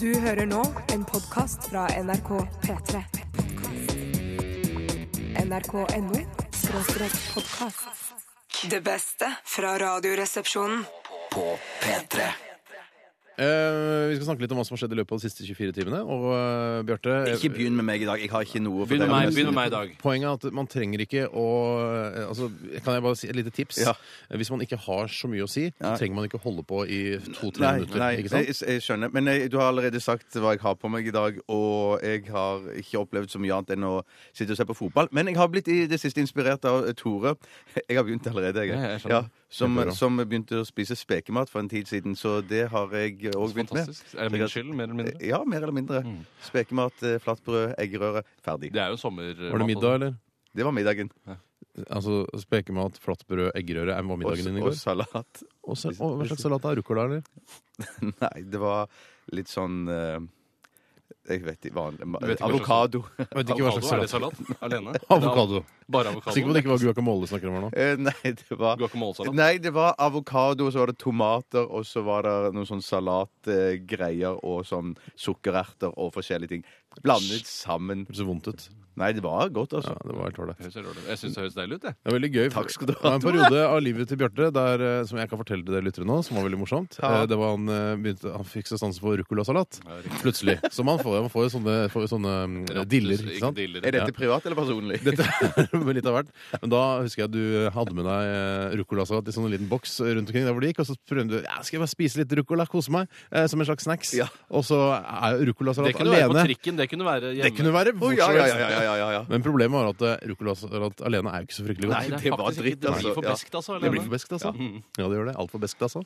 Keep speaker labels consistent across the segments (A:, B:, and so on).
A: Du hører nå en podkast fra NRK P3. NRK.no skråstrek podkast. Det beste fra Radioresepsjonen.
B: På P3
C: Eh, vi skal snakke litt om hva som har skjedd i løpet av de siste 24 timene. Og eh, Bjarte eh,
B: Ikke begynn med meg i dag, jeg har ikke noe å
D: Begynn med
B: fortelle.
D: meg, begynn med meg i dag.
C: Poenget er at man trenger ikke å eh, altså, Kan jeg bare si et lite tips?
B: Ja.
C: Eh, Hvis man ikke har så mye å si, så
B: Nei.
C: trenger man ikke holde på i to-tre
B: Nei,
C: minutter.
B: nei
C: ikke
B: jeg,
C: sant?
B: jeg skjønner. Men jeg, du har allerede sagt hva jeg har på meg i dag, og jeg har ikke opplevd så mye annet enn å sitte og se på fotball. Men jeg har blitt i det siste inspirert av eh, Tore. Jeg har begynt allerede, jeg.
D: Ja, jeg skjønner.
B: som,
C: Jeg prøver også.
B: som begynte å spise spekemat for en tid siden, så det har jeg òg begynt med.
D: Fantastisk. Er det min skyld, mer eller mindre? Mm.
B: Ja, mer eller mindre. Spekemat, eh, flatbrød, eggerøre. Ferdig.
D: Det er jo sommer...
C: Var det middag, eller?
B: Det var middagen.
C: Altså Spekemat, flatbrød, eggerøre er- var middagen din i
B: og, og
C: går.
B: salat.
C: Og så- og Hva slags salat er det? ruccola, eller?
B: Nei, det var litt sånn eh, Jeg vet ikke. Vanlig.
D: vet ikke hva slags-
B: Avokado.
C: Jeg vet ikke hva
D: Avokado,
C: slags
D: er det
C: salat.
D: salat? Alene?
C: Avokado.
D: Bare
C: Sikker på at
D: avokado?
C: det ikke var guacamole du snakker om her nå?
B: Eh, Nei, det var
D: Guacamolesalat?
B: Nei, det var avokado, og så var det tomater, og så var det noen sånn salatgreier og sånn sukkererter og forskjellige ting. Blandet sammen.
C: Det så vondt ut.
B: Nei, det var godt, altså.
C: Ja, det var helt ålreit.
D: Høres helt ordentlig ut. Jeg syns det høres deilig ut, jeg.
C: Det er veldig gøy.
B: Takk skal du ha,
C: Det var en periode av livet til Bjarte der, eh, som jeg kan fortelle til dere lyttere nå, som var veldig morsomt.
B: Ja.
C: Eh, Det var Han, eh, begynte, han fikk så sansen for ruccolasalat
D: Ja, riktig.
C: plutselig. Så man får, man får jo sånne, får jo sånne mm, diller.
D: Ikke
C: ikke sant?
D: diller.
B: Er dette privat eller personlig?
C: Dette er med litt av hvert. Men da husker jeg at du hadde med deg eh, ruccolasalat i sånn en liten boks rundt omkring der hvor det gikk, og så prøvde du ja, skal jeg bare spise litt ruccola, kose meg, eh, som en slags snacks.
B: Ja.
C: Og så er jo
D: Det
C: ruccolasalat
D: kunne være på
C: alene.
D: trikken, det kunne være hjemme.
C: Det kunne være
B: sånn Å,
C: hvor
B: ja,
C: som
B: ja,
C: helst.
B: ja, ja, ja, ja, ja.
C: Men problemet var at eh, ruccolasalat alene er jo ikke så fryktelig
B: Nei,
C: godt.
B: det var
D: faktisk
B: dritt,
D: ikke- Det
B: altså.
D: blir for
B: Ja. Mm.
D: beskt, altså.
C: Det blir
D: alene.
C: for beskt, altså. Ja, det gjør det. Altfor beskt, altså.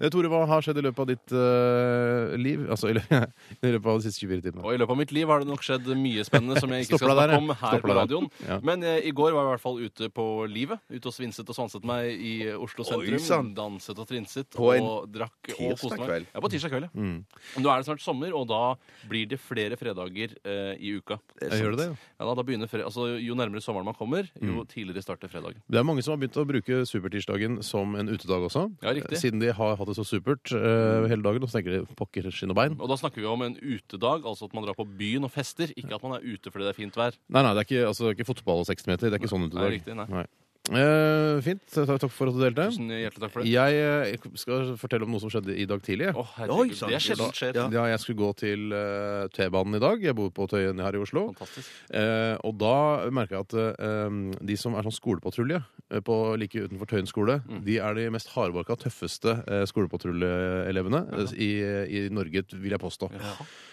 C: Eh, Tore, hva har skjedd i løpet av ditt eh, liv? Altså i lø- i løpet av de siste 24 timene.
D: Og I løpet av mitt liv har det nok skjedd mye spennende som jeg ikke
C: Stopper
D: skal
C: deg der,
D: snakke om
C: ja.
D: her
C: Stopper
D: på
C: deg der.
D: radioen.
C: Ja.
D: Men eh, i går var jeg i hvert fall ute på livet. Ute og svinset og svanset meg i Oslo sentrum.
B: sann.
D: danset og trinset
B: På en
D: og drakk og koste
B: tirsdag
D: meg.
B: kveld.
D: Ja, på tirsdag kveld. ja.
C: Mm.
D: Nå er det snart sommer, og da blir det flere fredager eh, i uka.
C: Eh, Gjør det det?
D: Ja, da, da begynner fre altså, jo nærmere sommeren man kommer,
B: Mm.
D: jo tidligere starter fredagen.
C: Det er mange som har begynt å bruke supertirsdagen som en utedag også.
D: Ja, riktig. Mm.
C: Eh, Siden de har hatt det så supert eh, hele dagen, og så tenker de pokker skinn og bein.
D: Og da snakker vi om en utedag, altså at man drar på byen og fester. Ikke at man er ute fordi det er fint vær.
C: Nei, nei, det er ikke, altså, det er ikke fotball og 60 meter. Det er ikke sånn utedag.
D: Nei, riktig, nei.
C: Eh, fint. Så Takk for at du delte.
D: Tusen hjertelig takk for det.
C: Jeg eh, skal fortelle om noe som skjedde i dag tidlig. jeg.
D: Å,
B: Oi,
D: herregud,
B: sant.
D: det er sjelden skjer.
B: Ja.
C: Ja, jeg skulle gå til eh, T-banen i dag. Jeg bor på Tøyen her i Oslo.
D: Fantastisk.
C: Eh, og da merka jeg at eh, de som er sånn skolepatrulje eh, på like utenfor Tøyen skole,
D: Mm.
C: de er de mest hardbarka, tøffeste eh, skolepatruljeelevene eh, i, i Norge, vil jeg påstå.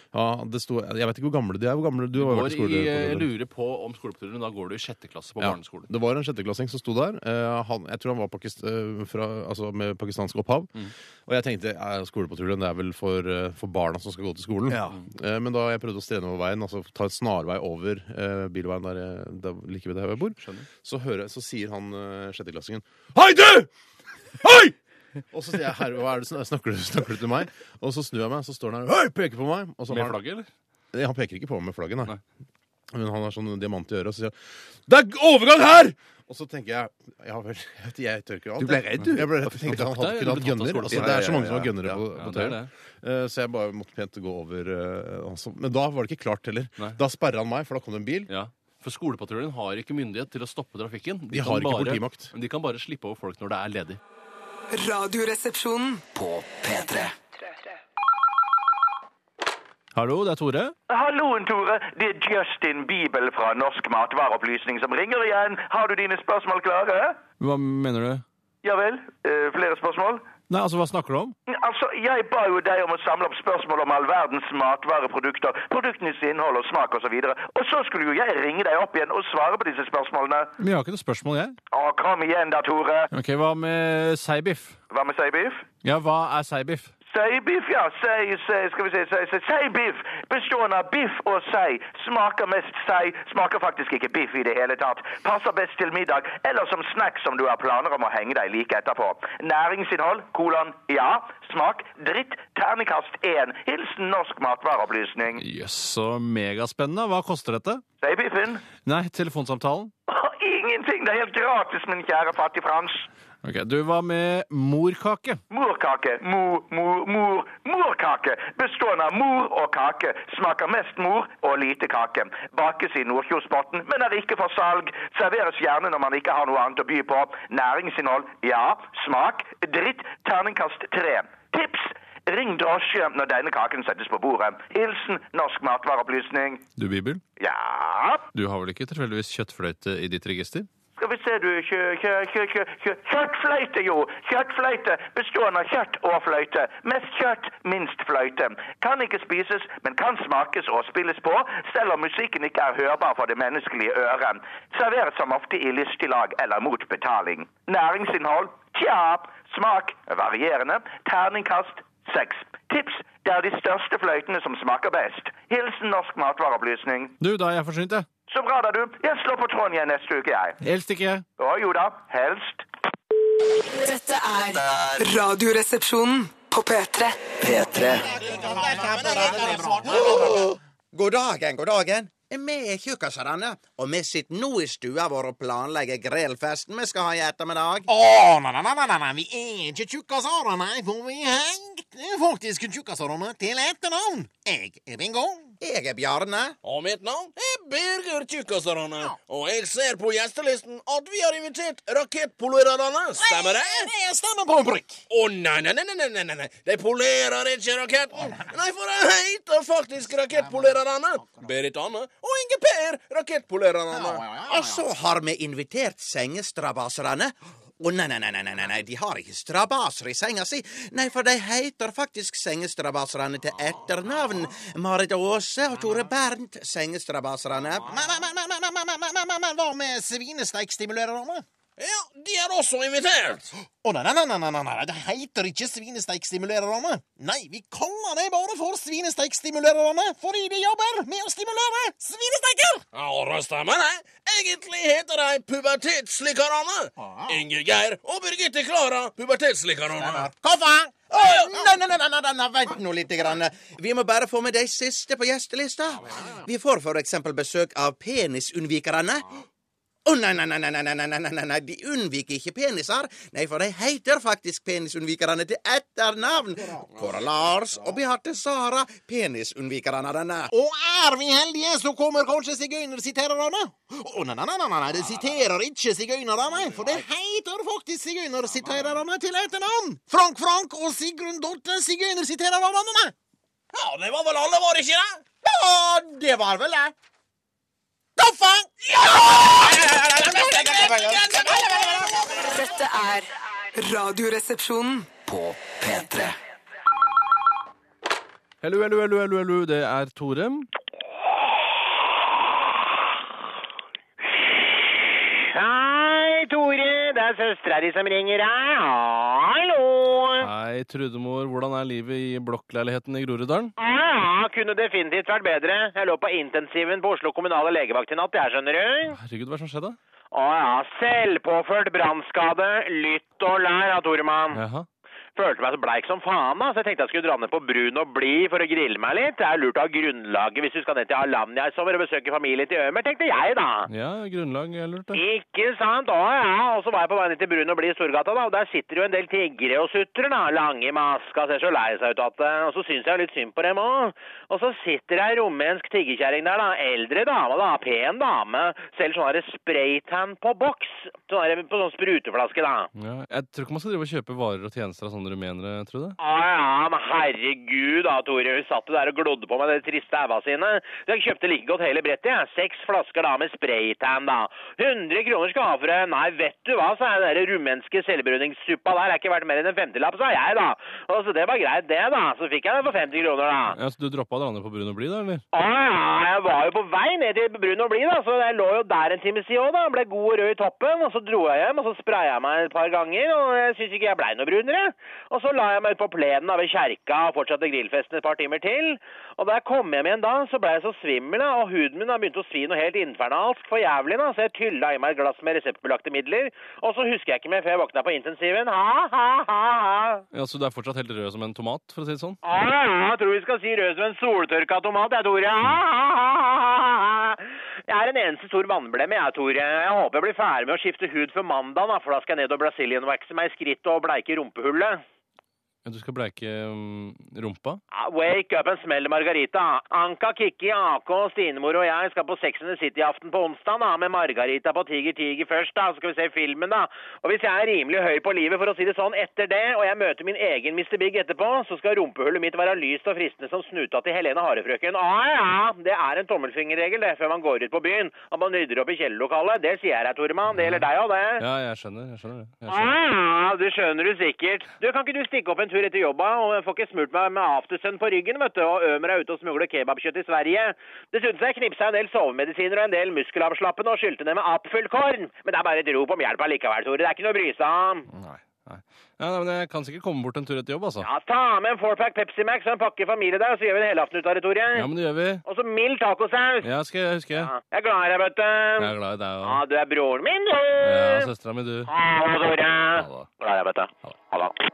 C: Ja. det sto, jeg vet ikke hvor gamle de er. Hvor gamle du har
D: går
C: vært i
D: i, eh, jeg
C: skolepatruljen?
D: lurer på om skolepatruljen da går du i sjette klasse på
C: Ja.
D: barneskolen.
C: Det var en sjetteklassing som sto der. Eh, han, jeg tror han var pakist, eh, fra, altså med pakistansk opphav.
D: Mm.
C: Og jeg tenkte eh, skolepatruljen det er vel for, eh, for barna som skal gå til skolen.
B: Ja.
C: Eh, men da jeg prøvde å strene over veien, altså ta en snarvei over eh, bilveien der, jeg- der like ved der hvor jeg bor, så, hører, jeg- så sier han eh, sjetteklassingen Hei, du! Hei! Og så sier jeg, herre, hva er det, sn- snakker, du, snakker du til meg? Og så snur jeg meg, så står han her Hei, peker på meg! Og så
D: Med
C: har han-
D: flagget, eller?
C: Nei, Han peker ikke på meg med flagget, nei. Men han har sånn diamant i øret, og så sier han Det er overgang her! Og så tenker jeg Ja vel, jeg, vet ikke, jeg tør ikke alt.
B: Du ble
C: jeg.
B: redd, du.
C: Jeg ble redd, tenkte han hadde
D: deg, du
C: ikke hatt
D: ble tatt av
C: gønner.
D: skolen.
C: Altså,
B: Ja,
C: det
B: ja,
C: er så mange
B: ja,
C: som har
B: ja,
C: gønnere
B: ja.
C: på,
D: Ja,
C: på
D: det er
C: tøyen. Eh, Så jeg bare måtte pent gå over. eh, altså. Men da var det ikke klart heller.
D: Nei.
C: Da sperra han meg, for da kom det en bil.
D: Ja. For skolepatruljen har ikke myndighet til å stoppe trafikken.
C: De har
D: kan
C: ikke
D: bare-
C: politimakt.
D: De kan bare slippe over folk når det er ledig.
A: Radioresepsjonen.
B: På P3.
D: Hallo, det er Tore.
E: Halloen, Tore. Det er Justin Bibel fra Norsk matvareopplysning som ringer igjen. Har du dine spørsmål klare?
D: Hva mener du?
E: Ja vel? Eh, flere spørsmål?
D: Nei, altså, Hva snakker du om?
E: Altså, Jeg ba jo deg om å samle opp spørsmål om all verdens matvareprodukter, produktenes innhold og smak osv. Og, og så skulle jo jeg ringe deg opp igjen og svare på disse spørsmålene.
D: Men Jeg har ikke noe spørsmål, jeg.
E: Å, kom igjen da, Tore.
D: Ok, Hva med seibiff?
E: Hva med seibiff?
D: Ja, hva er seibiff?
E: Seibiff, ja. Sei, sei, skal vi si sei, sei. Seibiff bestående av biff og sei. Smaker mest sei. Smaker faktisk ikke biff i det hele tatt. Passer best til middag eller som snack som du har planer om å henge deg like etterpå. Næringsinnhold, kolon, ja. Smak, dritt, ternekast 1. Hilsen Norsk matvareopplysning.
D: Jøss, så megaspennende. Hva koster dette?
E: Seibiffen?
D: Nei, telefonsamtalen.
E: Ingenting! Det er helt gratis, min kjære fattig Frans.
D: Ok, Du var med morkake.
E: Morkake, mor, mor, mor, morkake, bestående av mor og kake. Smaker mest mor og lite kake. Bakes i Nordkjosbotn, men er ikke for salg. Serveres gjerne når man ikke har noe annet å by på. Næringsinnhold, ja. Smak, dritt. Terningkast tre. Tips! Ring drosje når denne kaken settes på bordet. Hilsen Norsk matvareopplysning.
D: Du, Bibel,
E: Ja
D: du har vel ikke tilfeldigvis kjøttfløyte i ditt register?
E: Skal vi se, du kjø, kjø, kjø, kjø, kjø. Kjøttfløyte, jo! Kjøttfløyte bestående av kjøtt og fløyte. Mest kjøtt, minst fløyte. Kan ikke spises, men kan smakes og spilles på, selv om musikken ikke er hørbar for det menneskelige øret. Serveres som ofte i lystig lag eller mot betaling. Næringsinnhold? Tja. Smak? Varierende. Terningkast? Seks. Tips? Det er de største fløytene som smaker best. Hilsen Norsk matvareopplysning.
D: Du, da er jeg forsynt, jeg.
E: Så bra da, du. Jeg slår på tråden igjen neste uke, jeg.
D: Helst ikke jeg.
E: Å jo da, helst.
F: Dette er Radioresepsjonen på P3.
G: God dagen, god dagen. Vi er tjukkasene, og vi sitter nå i stua vår og planlegger grillfesten vi skal ha i ettermiddag.
H: Åh, nei, nei, nei, nei, nei, vi er ikke tjukkasarer, nei, for vi hengte faktisk tjukkasarene til etternavn. Jeg er Bingo.
G: Jeg er Bjarne.
I: Og mitt navn er Birger Tjukkasarane. Og jeg ser på gjestelisten at vi har invitert rakettpolererne. Stemmer det?
H: Det stemmer på en prikk.
I: Å nei, nei, nei, nei, nei, nei, nei. De polerer ikke raketten. Nei, for de heter faktisk rakettpolererne. Berit Anne og Inge Per, rakettpolererne.
G: Og så har vi invitert sengestrabaserne. Å nei, nei, nei, nei, nei, nei, nei, de har ikke strabaser i senga si. Nei, for de heter faktisk sengestrabaserne til etternavn. Marit Aase og Tore Bernt, sengestrabaserne.
H: Men, men, men, men, men, men, men, men, men, men, men, hva med svinesteikstimulererne?
I: Ja, de er også invitert.
H: Å nei, nei, nei, nei, nei, nei, nei, de heter ikke svinesteikstimulererne. Nei, vi kaller dem bare for svinesteikstimulererne, fordi de jobber med å stimulere svinesteiker.
I: Ja, det stemmer det. Egentlig heter de pubertetsslikkerne.
H: Ah.
I: Inge Geir og Birgitte Klara, pubertetsslikkerne.
G: Hvorfor?
I: Å,
G: Nei, nei, nei, nei, nei, nei, nei, vent nå litt. Grann. Vi må bare få med de siste på gjestelista. Vi får for eksempel besøk av penisunnvikerne. Å, nei, nei, nei, nei, nei, nei, nei, nei, nei, nei, de unnviker ikke peniser. Nei, for de heter faktisk penisunnvikerne til etternavn. Kåre Lars og Beate Sara, penisunnvikerne denne.
H: Og er vi heldige, så kommer kanskje sigøynersitererne. Å, nei, nei, nei, nei, nei, de siterer ikke sigøynerne, for det heter faktisk sigøynersitererne til etternavn. Frank Frank og Sigrun Dorte sigøynersitererne.
I: Ja, det var vel alle våre, ikke det?
H: Ja, det var vel det. Kaffe!
F: Dette er Radioresepsjonen.
D: Hello, hello, hello, hello, hello. Det er Tore.
J: Hei, Tore. Det er søstera di som ringer. Hei, hallo.
D: Hei, Trudemor. Hvordan er livet i blokkleiligheten i Groruddalen?
J: Ja, Ah, kunne definitivt vært bedre. Jeg lå på intensiven på Oslo kommunale legevakt i natt, jeg skjønner du.
D: Herregud, hva er det som skjedde?
J: Å ja, selvpåført brannskade. Lytt og lær, da, Toremann.
D: Jaha.
J: Følte meg så bleik som faen, da, så jeg tenkte jeg skulle dra ned på Brun og Bli for å grille meg litt. Det er lurt å ha grunnlaget hvis du skal ned til Alanya i sommer og besøke familien til Ømer, tenkte jeg, da.
D: Ja, grunnlag er lurt, det.
J: Ikke sant? Å ja. Og så var jeg på vei ned til Brun og Blid i Storgata, da. Og der sitter jo en del tiggere og sutrer, da. Lange i maska, ser så lei seg ut at eh, Og så syns jeg litt synd på dem òg. Og så sitter det ei rumensk tiggerkjerring der, da. Eldre dame, da. Pen dame. Selger sånn derre spraytan på boks. Sånn derre på sånn spruteflaske, da.
D: Ja, jeg tror ikke man skal drive og kjøpe varer og tjenester av sånne rumenere, Trude.
J: Å Ah, ja, men herregud da, Tore. Hun satt jo der og glodde på meg de triste æva sine. Så jeg kjøpte like godt hele brettet, jeg. Seks flasker da med spraytan, da. 100 kroner skal jeg ha for det. Nei, vet du hva, sa jeg. Den der rumenske selvbruningssuppa der er ikke verdt mer enn en femtilapp, sa jeg, da. Og så det var greit, det, da. Så fikk jeg det for 50 kroner, da.
D: Ja, så du droppa å dra ned på Brun og Bli, da, eller?
J: Å Ah, ja, jeg var jo på vei ned til Brun og Bli, da, så jeg lå jo der en time siden òg, da. Ble god og rød i toppen, og så dro jeg hjem, og så spraya jeg meg et par ganger, og jeg syns ikke jeg blei noe brunere. Og så la jeg meg ut på plenen da ved kjerka og fortsatte grillfesten et par timer til. Og da jeg kom hjem igjen da, så blei jeg så svimmel, da, og huden min da begynte å svi noe helt infernalsk for jævlig, da, så jeg tylla i meg et glass med reseptbelagte midler, og så husker jeg ikke mer før jeg våkna på intensiven. Ha, ha, ha, ha.
D: Ja, Så du er fortsatt helt rød som en tomat, for å si det sånn?
J: Ja, ja, jeg tror vi skal si rød som en soltørka tomat, jeg, Tore. Ah, ah, ah, ah, ah. Jeg er en eneste stor vannblemme, jeg, Tore. Jeg håper jeg blir ferdig med å skifte hud før mandag, da, for da skal jeg ned og brasilianvakse meg i skrittet og bleike rumpehullet.
D: Ja, Du skal bleike mm, rumpa?
J: Ah, Wake up and smell Margarita. Anka, Kikki, AK, Stinemor og jeg skal på Sex and the City-aften på onsdag da, med Margarita på Tiger Tiger først. da, Så skal vi se filmen, da. Og hvis jeg er rimelig høy på livet, for å si det sånn, etter det, og jeg møter min egen Mr. Big etterpå, så skal rumpehullet mitt være lyst og fristende som snuta til Helene Harefrøken. Ah, ja, det er en tommelfingerregel, det, før man går ut på byen. At man rydder opp i kjellerlokalet. Det sier jeg deg, Toremann. Det gjelder deg òg, det.
D: Ja, jeg skjønner. jeg skjønner det. Jeg skjønner.
J: Ah, det skjønner du sikkert. Du, Kan ikke du stikke opp en tur etter jobba? og jeg Får ikke smurt meg med aftersun på ryggen, vet du, og Ømer er ute og smugler kebabkjøtt i Sverige. Dessuten så har jeg knipsa en del sovemedisiner og en del muskelavslappende og skylte ned med apfelkorn. Men det er bare et rop om hjelp allikevel, Tore. Det er ikke noe å bry seg om.
D: Mm. Ja, nei, men Jeg kan sikkert komme bort en tur etter jobb, altså.
J: Ja, Ta med en fourpack Pepsi Max og en pakke familie der, og så gjør vi en helaften ut av det, Tore.
D: Ja, men det gjør vi.
J: Og så mild tacosaus.
D: Ja, skal jeg huske. Jeg
J: Jeg er glad i deg, vet du.
D: er glad i deg
J: Ja,
D: og
J: du er broren min, du.
D: ja, søstera mi, du.
J: Ha det, Tore. Glad i deg, vet du. Ha det.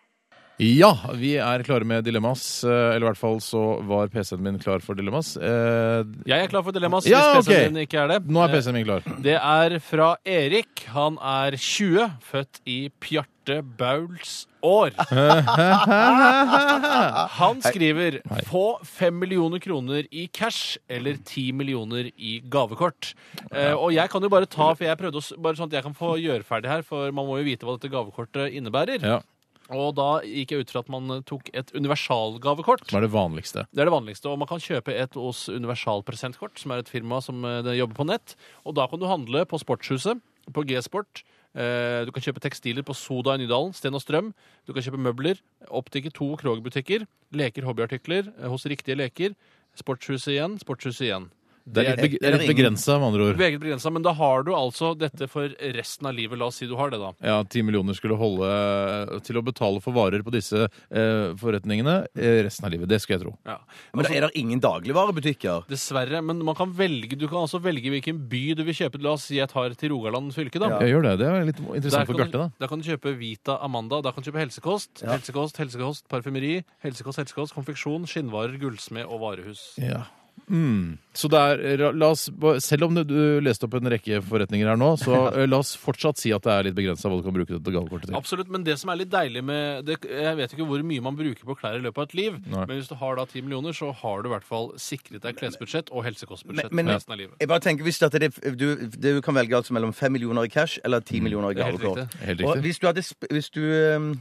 C: Ja, vi er klare med dilemmas. eh, Eller i hvert fall så var PC-en min klar for dilemmas. Jeg
D: er klar for dilemmas
C: Ja,
D: hvis PC-en
C: ok.
D: din ikke er det.
C: Nå er PC-en min klar.
D: Det er fra Erik. Han er 20, født i Pjarte Bauls år.
C: Eh,
D: Han skriver få 5 millioner kroner i cash eller 10 millioner i gavekort. Eh, og jeg kan jo bare ta, for jeg prøvde å, s- bare sånn at jeg kan få gjøre ferdig her, for man må jo vite hva dette gavekortet innebærer.
C: Ja.
D: Og da gikk jeg ut fra at man eh, tok et universalgavekort.
C: Som er det vanligste.
D: Det er det vanligste, og man kan kjøpe et hos Universal Presentkort, som er et firma som eh, det jobber på nett. Og da kan du handle på Sportshuset, på G-Sport. Eh, Du kan kjøpe tekstiler på Soda i Nydalen, Sten og Strøm. Du kan kjøpe møbler, Optiker 2 og Krog-butikker, leker, hobbyartikler eh, hos Riktige Leker, Sportshuset igjen, Sportshuset igjen.
C: Det er litt beg- det er litt begrensa, med andre ord.
D: Meget begrensa, men da har du altså dette for resten av livet. La oss si du har det, da.
C: Ja, 10 millioner skulle holde eh, til å betale for varer på disse eh, forretningene eh, resten av livet. Det skulle jeg tro.
D: Ja.
C: Men
D: Altså-
C: er det ingen dagligvarebutikker?
D: Dessverre, men man kan velge, du kan altså velge hvilken by du vil kjøpe. La oss si jeg tar til Rogaland fylke, da.
C: Ja. Jeg gjør det. Det er litt interessant
D: Der
C: for
D: kan du-
C: Bjarte, da.
D: Der kan du kjøpe Vita Amanda. Der kan du kjøpe helsekost,
C: Ja.
D: helsekost, helsekost, parfymeri, helsekost, helsekost, konfeksjon, skinnvarer, gullsmed og varehus.
C: Ja. Mm. Så det er, la oss, selv om du- du leste opp en rekke forretninger her nå, så eh, la oss fortsatt si at det er litt begrensa hva du kan bruke dette gavekortet til.
D: Absolutt, men det som er litt deilig med det, Jeg vet ikke hvor mye man bruker på klær i løpet av et liv,
C: Nei.
D: men hvis du har da 10 millioner, så har du i hvert fall sikret deg klesbudsjett og helsekostbudsjett
B: Men,
D: for
B: men
D: resten av livet.
B: jeg bare tenker hvis at det, du, du kan velge altså mellom 5 millioner i cash eller 10
C: Mm.
B: millioner i
D: Det er helt
B: gavekort.
D: riktig. Helt
B: Og
D: riktig.
B: hvis du hadde sp- hvis du, ehm,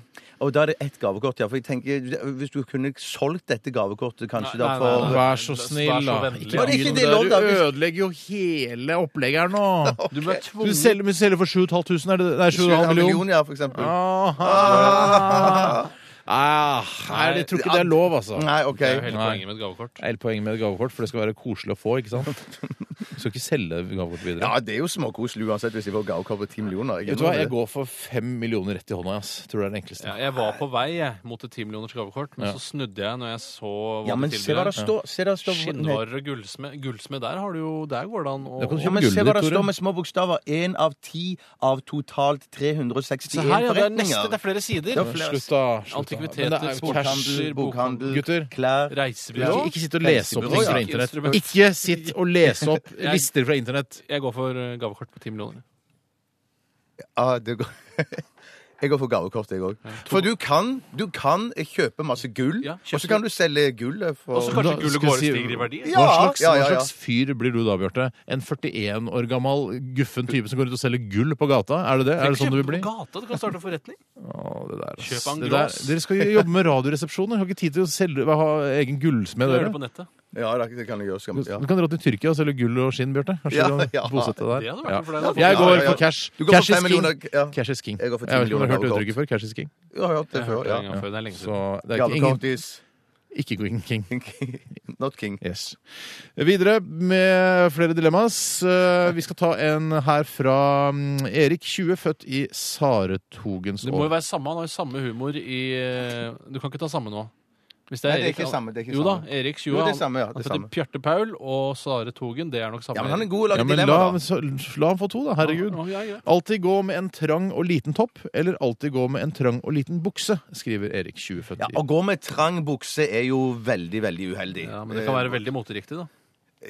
B: og da er det ett gavekort, ja. For jeg tenker, hvis du kunne solgt dette gavekortet kanskje da for
C: Vær så snill, da.
B: Ikke var det ikke
C: begynn
B: det,
C: der.
B: Lodd, da.
C: Du
B: Hvis-
C: ødelegger jo hele opplegget her nå.
D: Du ble tvunget
C: Du selger, men du selger for 7500, er det det? Nei, 7,5 millioner.
B: ja, for eksempel.
C: Ah. Ah, nei, jeg tror ikke det er lov, altså.
B: Nei, ok.
D: Det er jo hele poenget med et gavekort.
C: Hele poenget med et gavekort, for det skal være koselig å få, ikke sant? Du skal ikke selge gavekortet videre.
B: Ja, det er jo småkoselig uansett hvis de får gavekort på 10 millioner.
C: Vet du hva, jeg går for fem millioner rett i hånda, ass. Tror det er det enkleste.
D: Ja, jeg var på vei jeg, mot et 10 millioners gavekort, men
C: Ja.
D: så snudde jeg når jeg så
B: Ja, men se hva det står- se hva det står-
D: Skinnvarer og gullsmed. Gullsmed, der har du jo Der går det an å
B: Ja, men se hva det står med små bokstaver. Én av ti av totalt 361
D: Se her, ja. Det er
B: forretninger.
D: neste. Det er flere sider.
B: Det er flere-
C: Slutt, da. Slutt, da. Men det
D: Antikviteter,
C: er jo
D: sportshandel,
C: cash,
D: bokhandel,
C: Gutter,
B: klær
D: reisebyrå.
C: ikke, ikke sitt og lese opp ting
D: Helsebyrå,
C: fra
D: ja.
C: internett.
D: Instrument.
C: Ikke sitt og lese opp
D: Jeg-
C: lister fra internett.
D: Jeg går for eh, gavekort på 10 millioner.
B: Ja, Ah, det går... Jeg går for gavekort, jeg òg. For du kan, du kan kjøpe masse gull, og så kan du selge gullet for
D: Og så kanskje
C: Da
D: gullet
C: skal jeg
D: går
C: si-
D: stiger i verdi?
B: Ja,
C: Hva slags,
B: ja, ja,
C: hva
B: ja.
C: slags fyr blir du da, Bjarte? En 41 år gammel guffen type som går ut og selger gull på gata? Er det det? Er det sånn du vil bli?
D: På gata, du kan starte en forretning.
C: Å, det der, ass.
D: Kjøp en
C: Det
D: glass.
C: der- Dere skal jo jobbe med radioresepsjoner. Har ikke tid til å selge, ha egen gullsmed.
D: Gjør
C: dere.
D: det på nettet.
B: Ja, det er ikke- det kan jeg gjøre. Skam. Ja.
C: Du kan dra til Tyrkia og selge gull og skinn, Bjarte. Kanskje
B: Ja,
C: du kan
B: ja.
C: Bosette deg der.
B: Det hadde vært noe for deg, da.
C: Jeg
B: Ja,
C: går
B: ja, ja.
C: for cash.
B: Du går for
C: cash,
B: fem
C: is king.
B: millioner, ja.
C: cash is king.
B: Jeg går for ti
C: vet ikke om du har hørt
B: millioner
C: uttrykket før. Cash is king.
B: Jeg har hørt det før, ja.
D: gang før, det er lenge
C: Så det er ikke ingen,
B: Gavekortis.
C: ikke Queen King.
B: Not King.
C: Yes. Videre med flere dilemmas. Eh, Vi skal ta en her fra mm, Erik, 20, født i Saretogens
D: Det må jo
C: år.
D: være samme, han har jo samme humor i eh, Du kan ikke ta samme nå. Hvis det er,
B: Nei, det er
D: Erik-
B: ikke samme, det er ikke
D: jo da,
B: samme.
D: Erik
B: Jo,
D: Sjue.
B: det er samme, ja, det
D: han
B: er
D: heter
B: samme.
D: Bjarte Paul og Sare Togen. Det er nok samme.
B: Ja, men han er god til å
C: Ja,
B: lage
C: men
B: dilemmaer,
C: la,
B: da.
C: så, la han få to, da. Herregud.
D: Ja, ja, ja.
C: Alltid gå med en trang og liten topp, eller alltid gå med en trang og liten bukse, skriver Erik
B: Ja,
C: 2049.
B: Å gå med trang bukse er jo veldig, veldig uheldig.
D: Ja, men det kan være veldig moteriktig, da.
B: Eh,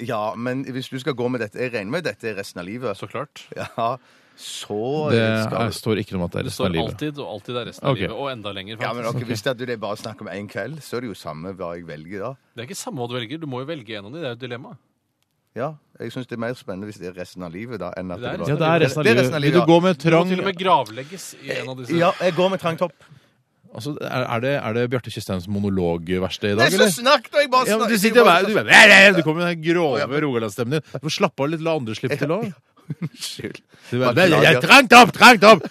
B: Ja, men hvis du skal gå med dette Jeg regner med dette resten av livet.
D: Så klart.
B: Ja, så eh,
C: Det
B: skal
C: er, står ikke noe om at det er
D: Det
C: resten av
D: står
C: livet.
D: alltid, og alltid er resten av
C: Ok.
D: livet. Og enda lenger,
B: Ja, men
D: faktisk.
B: ok, Hvis det er at du- det er bare snakk om én kveld, så er det jo samme hva jeg velger da.
D: Det er ikke samme hva du velger. Du må jo velge en av dem. Det er jo et dilemma.
B: Ja, Jeg syns det er mer spennende hvis det er resten av livet da, enn at
D: Det er
B: det, bare-
C: Ja, det er resten av
B: Det er
C: livet. Vil du gå
D: Du
C: med
D: må
C: trang
D: til og med gravlegges i en av disse.
B: Eh, Ja, jeg går med trang topp.
C: altså, er, er det, er det Bjarte Kjøstheims monologverksted i
B: Nei,
C: dag,
B: så
C: eller?
B: snakk, da! Jeg bare
C: Ja, men
B: snak-
C: du
B: jeg
C: sitter
B: bare-
C: bare, du, bare, nei, nei, du kommer med den grove rogalandsstemmen din. Du får slappe av litt, la andre slippe til òg.
B: Unnskyld.
C: Trangt opp! Trangt opp!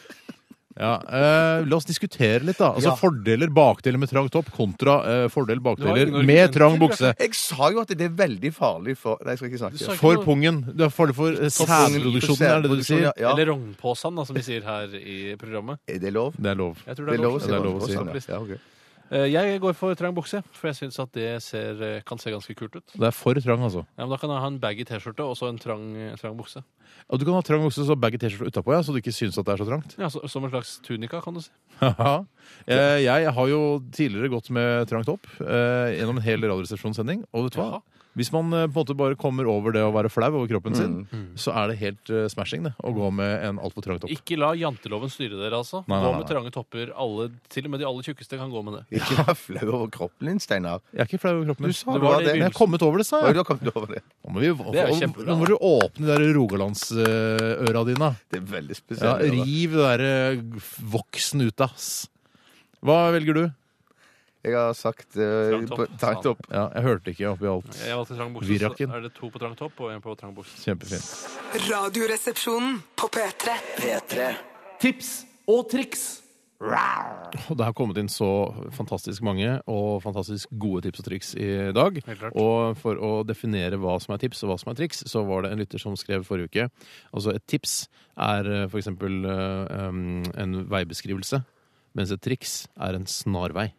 C: Ja, eh, la oss diskutere litt, da. Altså
B: Ja.
C: Fordeler, bakdeler med trang topp kontra eh, fordel, bakdeler
D: ingen
C: med
D: argumenter,
C: trang bukse.
B: Jeg sa jo at det er veldig farlig for Nei, jeg skal ikke
D: Du sa
B: snakke.
D: ikke
C: For
D: noe-
C: pungen. Du er farlig for eh, sædproduksjonen, er det det du sier?
B: Ja, ja.
D: Eller rognposen, da, som vi sier her i programmet.
B: Er det lov?
C: Det er lov.
D: Jeg tror
B: Det er lov å si
C: det er lov å si.
B: sånn, ja. Ja, ok.
D: Eh, Jeg går for trang bukse, for jeg syns at det ser, eh, kan se ganske kult ut.
C: Det er for trang, altså.
D: Ja, men Da kan jeg ha en baggy T-skjorte og så en trang, eh, trang bukse.
C: Og du kan ha trang bukse så baggy T-skjorte utapå, ja, så du ikke syns at det er så trangt.
D: Ja, så, Som en slags tunika, kan du si.
C: Haha. Eh, jeg har jo tidligere gått med trangt opp eh, gjennom en hel radioresepsjonssending. Og vet du
D: Jaha.
C: hva? Hvis man eh, på en måte bare kommer over det å være flau over kroppen sin,
D: Mm.
C: så er det helt eh, smashing det, å gå med en altfor trang topp.
D: Ikke la janteloven styre dere, altså.
C: Nei, nei,
D: Gå
C: nei,
D: med trange topper. Alle, til og med de aller tjukkeste kan gå med det.
B: Ikke vær flau over kroppen din, Steinar.
C: Jeg er ikke flau over kroppen.
B: Du sa
D: Det
B: det
D: var
B: var
D: det i
B: det.
C: Men jeg har kommet over det, sa
B: Oi,
C: jeg.
B: du har kommet over det.
C: Nå må, vi,
D: Det er jo kjempebra,
C: nå må du åpne de der rogalandsøra dine.
B: Det er veldig
C: Ja,
B: spesielt. det da.
C: riv det der eh, voksen ut, ass. Hva velger du?
B: Jeg har sagt uh,
D: Trang topp.
B: Trang topp.
C: Ja, jeg hørte ikke oppi alt.
D: Jeg valgte trang bukse,
C: Virakken.
D: så er det to på trang topp og en på trang bukse.
C: Kjempefint.
F: Radioresepsjonen på P3. P3.
K: Tips og triks.
C: Og det har kommet inn så fantastisk mange og fantastisk gode tips og triks i dag.
D: Helt klart.
C: Og for å definere hva som er tips og hva som er triks, så var det en lytter som skrev forrige uke. Altså et tips er eh, for eksempel eh, um, en veibeskrivelse, mens et triks er en snarvei.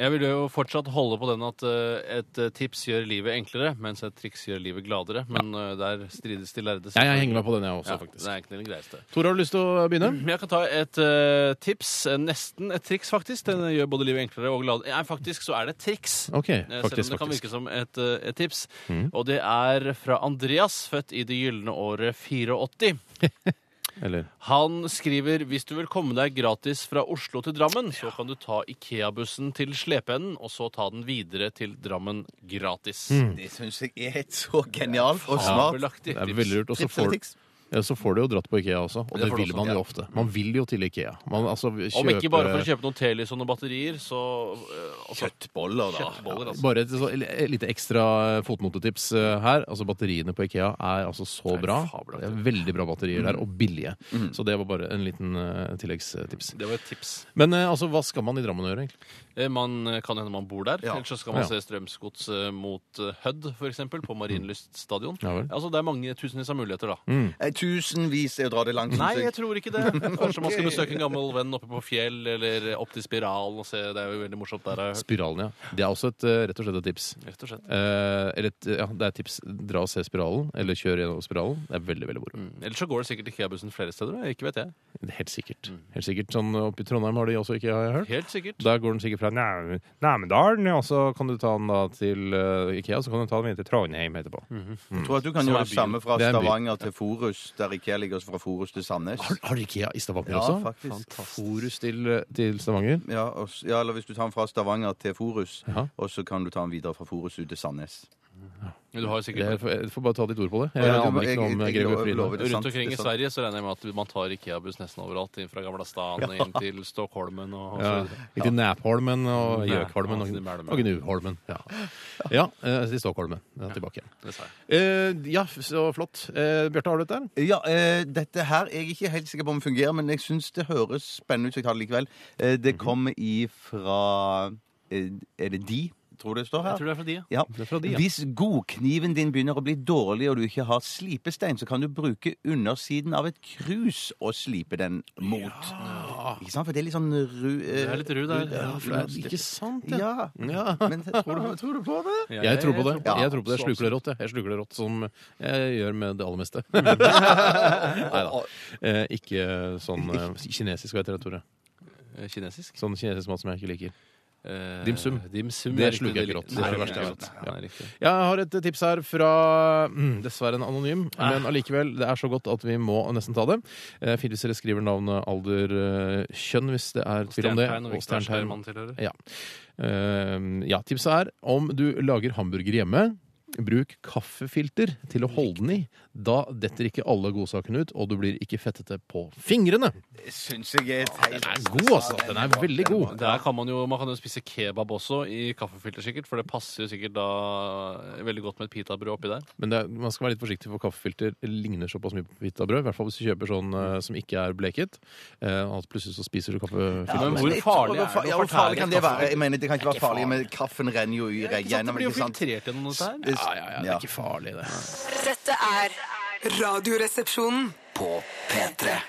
D: Jeg vil jo fortsatt holde på den at eh, et eh, tips gjør livet enklere, mens et triks gjør livet gladere. Men eh, der strides de lærde.
C: Ja, jeg henger meg på den jeg også,
D: Ja, det
C: faktisk.
D: er egentlig det greieste.
C: Tore, har du lyst til å begynne?
D: Men jeg kan ta et eh, tips. eh, Nesten et triks, faktisk. Den eh, gjør både livet enklere og gladere. Nei, faktisk så er det et triks.
C: Ok,
D: Eh, Selv om
C: faktisk, Mm.
D: det kan virke
C: faktisk.
D: som et, eh, et tips. Og det er fra Andreas, født i det gylne året 84.
C: Eller,
D: Han skriver hvis du vil komme deg gratis fra Oslo til Drammen, så kan du ta Ikea-bussen til Slepeenden, og så ta den videre til Drammen gratis.
B: Det syns jeg er et så genialt og smart.
D: Fabelaktig
C: Hmm. det er
D: tips.
C: veldig lurt. Og så
B: Tips og
C: får,
B: triks.
C: ja, så får du jo dratt på Ikea også, og
D: Det
C: det,
D: får du
C: vil
D: også,
C: man
D: ja.
C: jo ofte. Man vil jo til Ikea. Man, altså, kjøpe,
D: Om ikke bare for å kjøpe noen Telison og batterier, så eh, altså,
B: Kjøttboller, da.
D: Kjøttboller, altså.
C: Bare et så, et lite ekstra fotnotetips eh, her. Altså Batteriene på Ikea er altså så
D: er
C: bra.
D: fabelaktig. Mhm.
C: Det er veldig bra batterier der, og billige. Så det var bare en liten eh, tilleggstips.
D: Det var et tips.
C: Men eh, altså, hva skal man i Drammen gjøre, egentlig?
D: Eh, Man eh, kan hende man bor der.
B: Ja.
D: Ellers så skal man
C: Ja. Hmm.
D: se Strømsgods eh, mot eh, Hødd, f.eks., på Marienlyst stadion.
C: Ja vel.
D: Altså, det er mange tusenvis av muligheter, da.
B: Eh, Tusenvis er å dra det langt.
D: Nei,
B: synes
D: jeg tror ikke det. Kanskje man skal besøke en gammel venn oppe på Fjell, eller opp til Spiralen og se. Det er jo veldig morsomt der, eh. har jeg hørt.
C: Spiralen, ja. Det er også et, eh, rett og slett et tips.
D: Rett og slett.
C: Eh, eller et, ja, det er et tips. Dra og se spiralen, eller kjør gjennom spiralen. Det er veldig, veldig moro.
D: Mm. Ellers så går det sikkert Ikea-bussen flere steder. da. Ikke vet jeg.
C: Helt
D: Mm.
C: sikkert. Helt sikkert. Sånn oppe i Trondheim har de også ikke, har jeg hørt.
D: Helt sikkert.
C: Der går den sikkert fra Næ- Næmendalen, og så kan du ta den da til eh, Ikea, så kan du ta den inn til Trondheim etterpå.
B: Mhm. Jeg tror at du kan
D: Så er
B: gjøre
D: det
B: det samme fra
C: Det er en by.
B: Stavanger til Forus, der IKEA ligger, og så fra Forus til Sandnes.
C: Har, har de IKEA i Stavanger
B: Ja,
C: også?
B: faktisk.
C: Forus til, til Stavanger.
B: Ja, og, s- ja, eller hvis du tar den fra Stavanger til Forus,
C: Ja.
B: og så kan du ta den videre fra Forus ut til Sandnes.
D: Du har jo
C: Jeg
D: sikkert
C: får, jeg får bare ta ditt ord på det. Jeg
B: Ja, du-
C: aner
B: jeg-
C: ikke noe om
B: jeg- jeg
C: Grevi
B: lo- lover
C: Frida.
B: det. er sant, liksom?
D: Rundt omkring
B: det
D: i
B: er sant.
D: Sverige så regner jeg med at man tar Ikea-buss nesten overalt. inn Fra Gamla Stan og inn til Stockholmen og og så
C: Ja,
D: videre.
C: gikk til Næpholmen og Gjøkholmen
D: altså,
C: og,
D: det er det med.
C: og Gnuholmen. Ja, ja eh, til Stockholmen. Ja, tilbake igjen.
D: Det sa jeg.
C: Eh, ja, så flott. Eh, Bjarte, har du et der?
B: Ja, eh, dette her er jeg ikke helt sikker på om fungerer, men jeg syns det høres spennende ut, så jeg tar det likevel. Eh,
C: Mhm.
B: det kommer ifra eh, Er det de, tror det står her?
D: Jeg tror det er fra de, ja.
B: Ja.
C: er fra de, ja.
B: Hvis godkniven din begynner å bli dårlig og du ikke har slipestein, så kan du bruke undersiden av et krus og slipe den mot. Ikke sant? For det er litt sånn ru...
D: Ah. Det er litt ru der. Ja, for det er- ikke
B: sant,
D: ja.
B: ja. Men tror du, tror du på det?
C: Jeg tror på det.
B: Ja,
C: Jeg tror på det. Jeg
B: så
C: sluker det
B: absolutt.
C: rått, jeg. Jeg sluker det rått som jeg gjør med det aller meste. Nei da. Eh, ikke sånn eh, kinesisk, vet dere, Tore.
D: Kinesisk?
C: Sånn kinesisk mat som jeg ikke liker.
D: Eh,
C: Dim sum.
D: dim sum er
C: det
D: riktig,
C: sluker jeg
D: det er
C: ikke rått.
D: riktig.
C: Det er
D: Nei,
C: det verste
D: det er riktig.
C: jeg vet.
D: Ja, det er riktig.
C: Jeg har et eh, tips her fra mm, dessverre en anonym,
D: Ah.
C: men allikevel. Det er så godt at vi må nesten ta det. Eh, Fint hvis dere skriver navnet, alder, eh, kjønn hvis det er tvil om det.
D: stjerntegn, og hvilken nasjonal man tilhører.
C: Ja. Eh, ja, tipset er om du lager hamburger hjemme. Bruk kaffefilter til å holde den i. Da detter ikke alle godsakene ut, og du blir ikke fettete på fingrene.
B: Det syns jeg er teit.
C: Den er god, altså. Den er veldig god.
D: Der kan man jo, man kan jo spise kebab også i kaffefilter, sikkert. For det passer jo sikkert da veldig godt med et pitabrød oppi der.
C: Men det er, man skal være litt forsiktig, for kaffefilter ligner såpass mye på pitabrød. I hvert fall hvis du kjøper sånn eh, som ikke er bleket. Eh, at plutselig så spiser du kaffefilter.
B: Ja, men jeg tror- hvor fa- ja, hvor farlig kan det være? Jeg mener, Det kan ikke være farlig, men kaffen renner jo i
D: ikke sant?
B: gjennom.
D: Det blir jo
B: ikke sant?
D: filtrert gjennom dette her.
B: Det-
C: Ja, ja, ja, det er ikke farlig, det.
F: Dette er Radioresepsjonen på P3.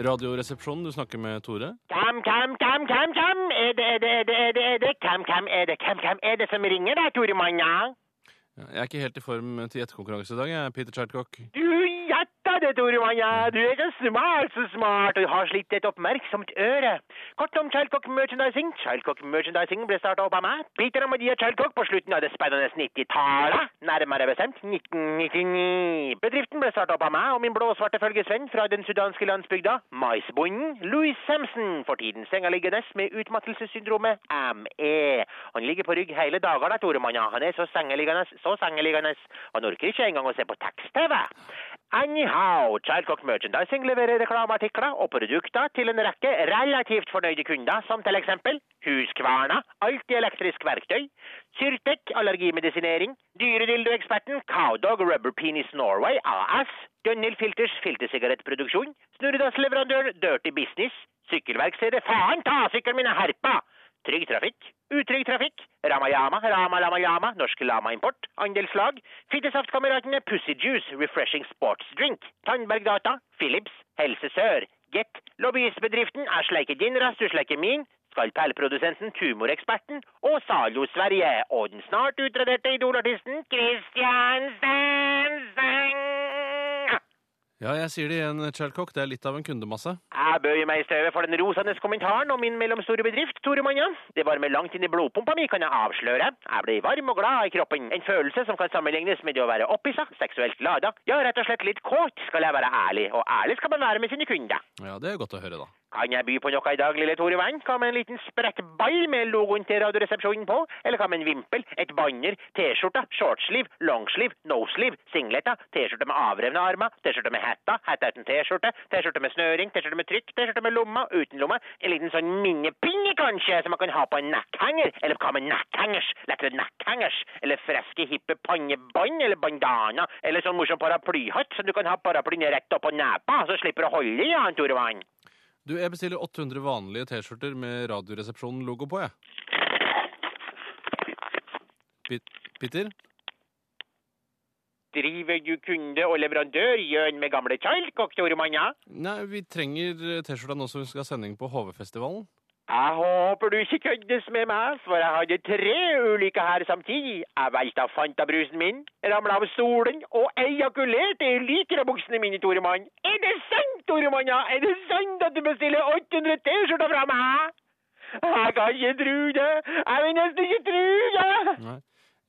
D: Radioresepsjonen, du snakker med Tore.
J: Kam, kam, kam, kam, kam. Er det, er det, er det, er det, er det, kam, kam, er det, kam, kam, er det som ringer der, Tore Manna?
D: Ja, Jeg er ikke helt i form til gjettekonkurranse i dag, jeg, Peter Chertkok.
J: Du gjetta det, Tore Manna. Du er så smart, så smart, og har slitt et oppmerksomt øre. Kort om Childcock Merchandising. Childcock Merchandising ble starta opp av meg, Peter og Maria Childcock, på slutten av det spennende 90-tallet. Nærmere bestemt 1999. Bedriften ble starta opp av meg og min blå-svarte følgesvenn fra den sudanske landsbygda, maisbonden Louis Samson. For tiden sengeliggende med utmattelsessyndromet ME. Han ligger på rygg hele dager, da, Tore Manna. Han er så sengeliggende, så sengeliggende. Han orker ikke engang å se på tekst-TV. Anyhow, Childcock Merchandising leverer reklameartikler og produkter til en rekke relativt fornøyde kunder, som til eksempel Huskverna, alltid elektrisk verktøy, Syrtec, allergimedisinering, dyredildoeksperten Cowdog Rubber Penis Norway AS, Gunnhild Filters filtersigarettproduksjon, Snurredassleverandøren Dirty Business, sykkelverkstedet Faen ta sykkelen min er herpa! Trygg trafikk, utrygg trafikk, Ramayama, Rama Lama Lama, Norsk Lama Import, Andelslag, Fittesaftkameratene, Pussy Juice, Refreshing Sports Drink, Tandberg Data, Philips, Helse Sør, Get, lobbyistbedriften, jeg sleiker din rass, du sleiker min, skalpellprodusenten, tumoreksperten og Zalo Sverige, og den snart utraderte idolartisten Christian Stenseng.
D: Ja, jeg sier det igjen, Chertkok. Det er litt av en kundemasse.
J: Jeg bøyer meg i støvet for den rosende kommentaren om min mellomstore bedrift, Tore Manna. Det varmer langt inn i blodpumpa mi, kan jeg avsløre. Jeg blir varm og glad i kroppen. En følelse som kan sammenlignes med det å være opphissa, seksuelt lada, ja, rett og slett litt kåt, skal jeg være ærlig. Og ærlig skal man være med sine kunder.
D: Ja, det er godt å høre, da.
J: Kan jeg by på noe i dag, lille Tore Vann? Hva med en liten sprettball med logoen til Radioresepsjonen på? Eller hva med en vimpel, et banner, T-skjorta, shortsliv, longsliv, nosliv, singleta, T-skjorte med avrevne armer, T-skjorte med hetta, hetta uten T-skjorte, T-skjorte med snøring, T-skjorte med trykk, T-skjorte med lomma, uten lomma, en liten sånn minnepinne kanskje, som man kan ha på en nekkhenger, eller hva med nekkhengers, lettere nekkhengers, eller freske hippe pannebånd, eller bandana, eller sånn morsom paraplyhatt, som du kan ha paraplyen rett opp på nepa, så slipper du å holde i, ja, Tore Vann.
D: Du, jeg bestiller 800 vanlige T-skjorter med Radioresepsjonen-logo på, jeg. Pit- Peter?
J: Driver du kunde- og leverandørgjøn med gamle Childcock, Tore Manna?
D: Nei, vi trenger eh, T-skjorta nå som vi skal ha sending på HV-festivalen.
J: Jeg håper du ikke køddes med meg, for jeg hadde tre ulykker her samtidig. Jeg velta Fanta-brusen min, ramla av stolen og ejakulerte i lycra-buksene mine, Tore Mann. Er det sant, Tore Manna? Er det sant at du bestiller 800 T-skjorter fra meg? Jeg kan ikke tru det. Jeg vil nesten ikke tru det.
D: Nei.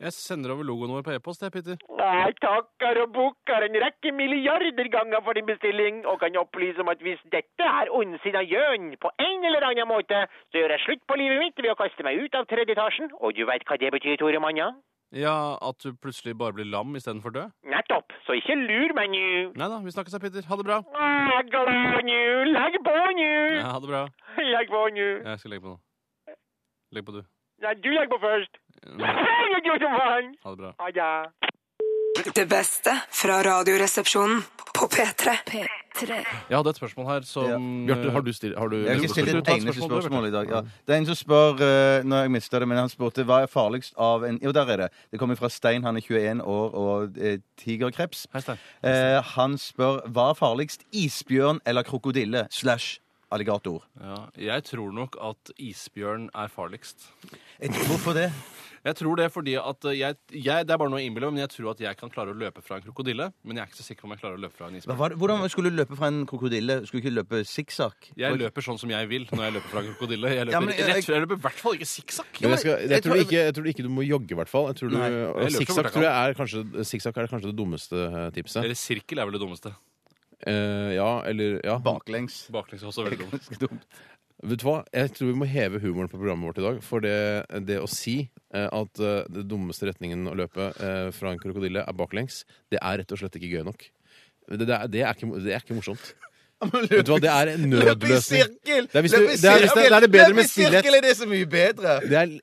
D: Jeg sender over logoen vår på e-post, jeg, Peter.
J: Jeg takker og bukker en rekke milliarder ganger for din bestilling, og kan opplyse om at hvis dette er ondsinna gjøn på en eller annen måte, så gjør jeg slutt på livet mitt ved å kaste meg ut av tredje etasjen, og du veit hva det betyr, Tore Manna?
D: Ja, at du plutselig bare blir lam istedenfor død?
J: Nettopp, så ikke lur meg nå.
D: Nei da, vi snakkes da, Peter. Ha det bra.
J: Ah, glad nå, legg på nå!
D: Ja, ha det bra.
J: Legg på nå.
D: Jeg skal legge på nå. Legg på, du.
J: Nei, du legger på først. Jeg gjør som faen.
D: Ha det bra.
J: Ha det.
F: Det beste fra Radioresepsjonen på P3.
J: P3.
D: Jeg hadde et spørsmål her som eh,
C: Bjarte, har du stilt- har du-
B: Jeg har ikke stilt
D: Du
B: et
D: tar et
B: eneste
D: spørsmål, du,
B: spørsmål i dag.
D: Bjarte.
B: Ja. Det er en som spør eh, Når jeg mista det, men han spurte hva er farligst av en Jo, der er det. Det kommer fra Stein. Han er 21 år og eh, tigerkreps. Eh, han spør hva er farligst isbjørn eller krokodille slash alligator?
D: Ja, jeg tror nok at isbjørn er farligst.
B: Eh, Hvorfor det?
D: Jeg tror det fordi at eh, jeg, jeg Det er bare noe jeg innbiller meg, men jeg tror at jeg kan klare å løpe fra en krokodille. Men jeg er ikke så sikker på om jeg klarer å løpe fra en
B: Hva
D: isbjørn.
B: var det? Hvordan skulle du løpe fra en krokodille? Skulle du ikke løpe sikksakk?
D: Jeg løper sånn som jeg vil når jeg løper fra en krokodille. Jeg løper,
B: Ja, men jeg-
D: rett fra, jeg løper i hvert fall ikke sikksakk.
C: Men jeg, skal, jeg, tror ikke, jeg tror ikke du må jogge, i hvert fall. Jeg tror du,
D: Nei, jeg
C: og
D: løper så fort
C: Sikksakk
D: jeg
C: tror jeg er kanskje, sikksakk er kanskje det dummeste eh, tipset.
D: Eller sirkel er vel det dummeste.
C: Eh, ja, eller ja.
B: Baklengs.
D: Baklengs er også veldig dumt.
C: Vet du hva? Jeg tror vi må heve humoren på programmet vårt i dag. For det, det å si eh, at eh, det dummeste retningen å løpe eh, fra en krokodille er baklengs, det er rett og slett ikke gøy nok. Det, det, er, det, er, ikke, mo- det er ikke morsomt. Vet du hva, det er en nødløsning. Det er hvis du- det er hvis det- det er det bedre med stillhet.
B: Løp i sirkel er det så mye bedre!
C: Det er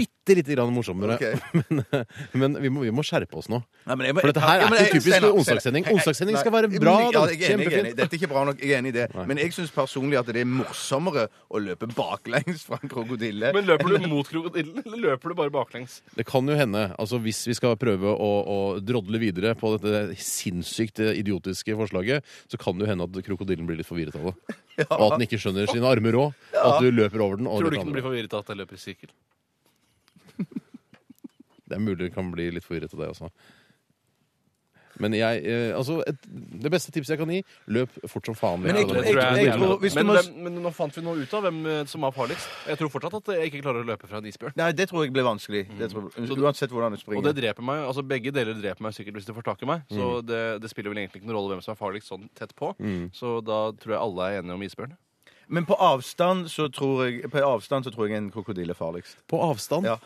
C: bitte lite grann morsommere. Men, eh, men vi, må, vi må skjerpe oss nå.
B: Nei, men jeg-
C: For dette her
B: Ja,
C: er
B: men jeg-
C: ikke typisk
B: Steinar,
C: onsdagssending.
B: Steinar,
C: Onsdagssending
B: nei,
C: skal være bra.
B: men-
C: da.
B: Ja, jeg er enig, jeg er enig.
C: Kjempefint.
B: Dette er ikke bra nok. Jeg er enig i det. Men jeg syns personlig at det er morsommere å løpe baklengs fra en krokodille.
D: Men løper du mot krokodillen, eller løper du bare baklengs?
C: Det kan jo hende, altså hvis vi skal prøve å, å drodle videre på dette sinnssykt idiotiske forslaget, så kan det jo hende at krokodillen blir litt forvirret av det. Og at den ikke skjønner sine armer òg.
D: Ja.
C: At du løper over den. Og
D: Tror du
C: litt
D: ikke den blir
C: andre.
D: forvirret av at jeg løper i sirkel?
C: Det er mulig den kan bli litt forvirret av det også. Men jeg, eh, altså et, det beste tipset jeg kan gi, løp fort som faen.
D: Men,
C: Ja, det tror jeg er det beste.
D: men,
C: Men
D: hvem- men nå fant vi noe ut av hvem eh, som er farligst. Jeg tror fortsatt at jeg ikke klarer å løpe fra en isbjørn.
B: Nei, det tror jeg blir vanskelig. Det tror, uansett hvordan du springer.
D: Og det dreper meg, altså Begge deler dreper meg sikkert hvis de får tak i meg. Så det, det spiller vel egentlig ikke noen rolle hvem som er farligst sånn tett på.
B: Mm.
D: Så da tror jeg alle er enige om isbjørn.
B: Men på avstand så tror jeg, på avstand så tror jeg en krokodille er farligst.
C: På avstand?
B: Ja.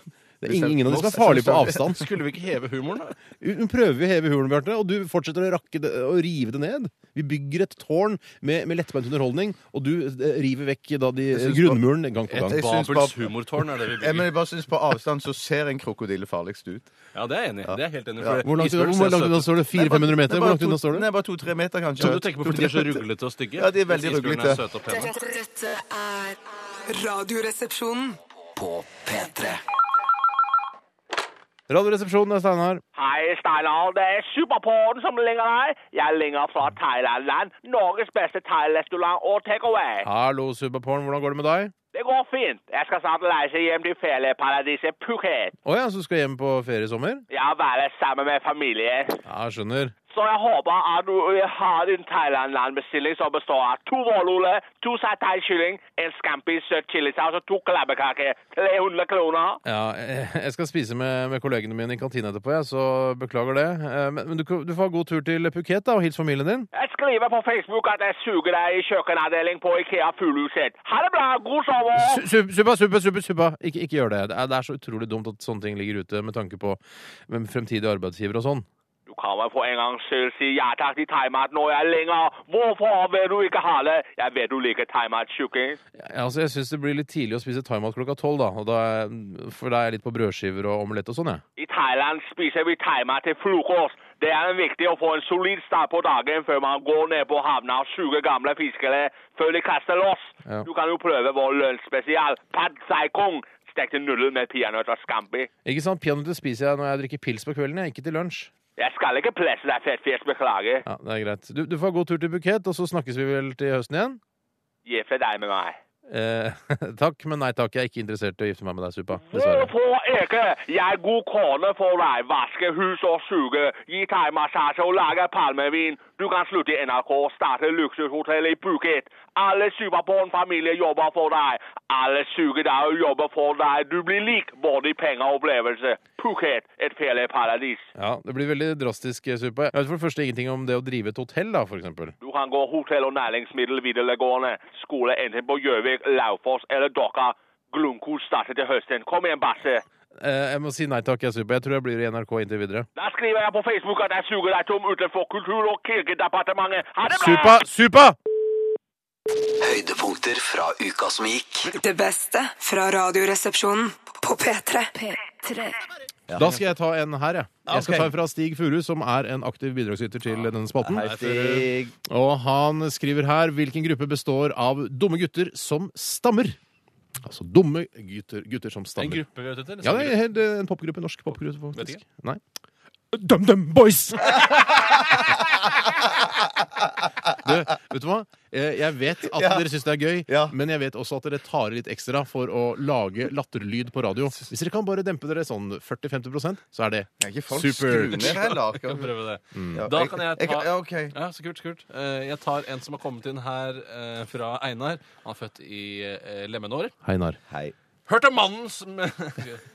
C: Det er ingen, ingen av dem som er farlig på avstand.
D: Skulle vi ikke heve humoren, da?
C: Hun prøver jo å heve hulen, Bjarte, og du fortsetter å rakke det, å rive det ned. Vi bygger et tårn med, med lettbeint underholdning, og du eh, river vekk da de,
B: Jeg synes
C: grunnmuren
B: bare-
C: gang på
B: Jeg-
C: gang.
B: jeg synes bare- Ja, men
C: Ja,
B: jeg bare synes på avstand så ser en krokodille farligst ut.
D: Ja, det er jeg enig i. Det er jeg helt enig i.
B: Ja.
D: for det-
C: Hvor langt-
D: isbjørn
C: hvor
D: ser
C: langt
D: søt
C: unna
D: ut.
C: står det?
D: Nei, bare-
C: 400-500 meter?
D: det er
C: Hvor
D: bare
C: langt
D: to-
C: unna står det?
B: Nei, bare to-tre meter, kanskje.
D: Så du tenker på fordi de er så
B: To-tre meter.
D: ruglete og stygge?
B: Ja, de er
D: Mens
B: veldig
D: isbjørnene
B: ruglete.
D: er søte og pene.
F: Dette er Radioresepsjonen på P3.
C: Radioresepsjonen er Steinar.
L: Hei, Steinar. Det er Superporten som ringer deg. Jeg ringer fra Thailand-land. Norges beste thairestaurant og takeaway.
C: Hallo, Superporn, hvordan går det med deg?
L: Det går fint. Jeg skal snart reise hjem til ferieparadiset Phuket.
C: Å ja, så du skal hjem på ferie i sommer?
L: Jeg har vært sammen med familien.
C: Ja, jeg skjønner.
L: Så jeg håper at du øh, har en Thailand-landbestilling som består av to vårruller, to sat thai-kylling, en scampi søt chilisaus og to klabbekaker. 300 kroner.
C: Ja, jeg jeg skal spise med, med kollegene mine i kantina etterpå, jeg, så beklager det. Eh, Men, men du, kan- du får ha god tur til Phuket da, og hils familien din.
L: Jeg skriver på Facebook at jeg suger deg i kjøkkenavdeling på Ikea Fuglehuset. Ha det bra! God sommer!
C: Su- su- Suppa, suppa, suppa, suppa. Ikke, ikke gjør det. Det er, det er så utrolig dumt at sånne ting ligger ute med tanke på hvem fremtidige arbeidsgivere og sånn.
L: Du kan vel for en gangs skyld si ja takk til thaimat når jeg er lenger. Hvorfor vil du ikke ha det? Jeg vet du liker thaimat, tjukking.
C: Ja, altså, jeg syns det blir litt tidlig å spise thaimat klokka tolv, da. Og da er, for da er jeg litt på brødskiver og omelett og sånn, jeg.
L: I Thailand spiser vi thaimat til frokost. Det er viktig å få en solid start på dagen før man går ned på havna og suger gamle fiskere før de kaster loss.
C: Ja.
L: Du kan jo prøve vår lunsjspesial, pad thai kung, stekte nudler med peanøtt og scampi.
C: Ikke sant? Peanøtter spiser jeg når jeg drikker pils på kvelden, jeg. Ikke til lunsj.
L: Jeg skal ikke presse deg, fettfjes, beklager.
C: Ja, det er greit. Du, du får ha god tur til Bukett, og så snakkes vi vel til høsten igjen?
L: Gifte deg med meg.
C: Eh, takk, men nei takk. Jeg er ikke interessert i å gifte meg med deg, Suppa. Dessverre.
L: Hvorfor ikke? Jeg er god kone for deg. Vaske hus og suge. Gi thaimassasje og lage palmevin. Du kan slutte i NRK og starte luksushotell i Phuket. Alle Superporn-familier jobber for deg. Alle suger deg og jobber for deg. Du blir lik både i penger og opplevelse. Phuket, et ferieparadis.
C: Ja, Det blir veldig drastisk, eh, Suppa. Jeg vet for det første ingenting om det å drive et hotell, da, for eksempel.
L: Du kan gå hotell- og næringsmiddel videregående. Skole enten på Gjøvik, Laufoss eller Dokka. Glumkos starter til høsten. Kom igjen, Basse.
C: Eh, jeg må si nei takk, jeg, Suppa. Jeg tror jeg blir i NRK inntil videre.
L: Da skriver jeg på Facebook at jeg suger deg tom utenfor Kultur- og kirkedepartementet. Ha det bra!
C: Suppa! Suppa!
F: Høydepunkter fra uka som gikk. Det beste fra Radioresepsjonen på P3.
J: P3.
C: Da skal jeg ta en her, jeg.
B: Ja,
C: Jeg skal
B: ok.
C: ta en fra Stig Furu, som er en aktiv bidragsyter til denne spalten.
B: Hei, Stig.
C: Og han skriver her hvilken gruppe består av dumme gutter som stammer. Altså dumme gutter, gutter som stammer.
D: En gruppe vi er ute etter?
C: Ja, det er helt, eh, en popgruppe. Norsk popgruppe,
D: Vet
C: faktisk.
D: ikke.
C: Nei. DumDum Boys! Du, vet du hva? Eh, Jeg vet at
B: Ja.
C: dere syns det er gøy, men jeg vet også at dere tar i litt ekstra for å lage latterlyd på radio. Hvis dere kan bare dempe dere sånn 40-50 så er det
B: Kan ikke folk skru
C: supert.
B: ned heller?
D: Vi kan prøve det.
C: Mm.
D: Da kan jeg ta
B: jeg- ja, ok.
D: Ja, så kult, så kult. Eh, Jeg tar en som har kommet inn her eh, fra Einar. Han er født i eh, lemenår.
C: Heinar.
D: Hørte mannen som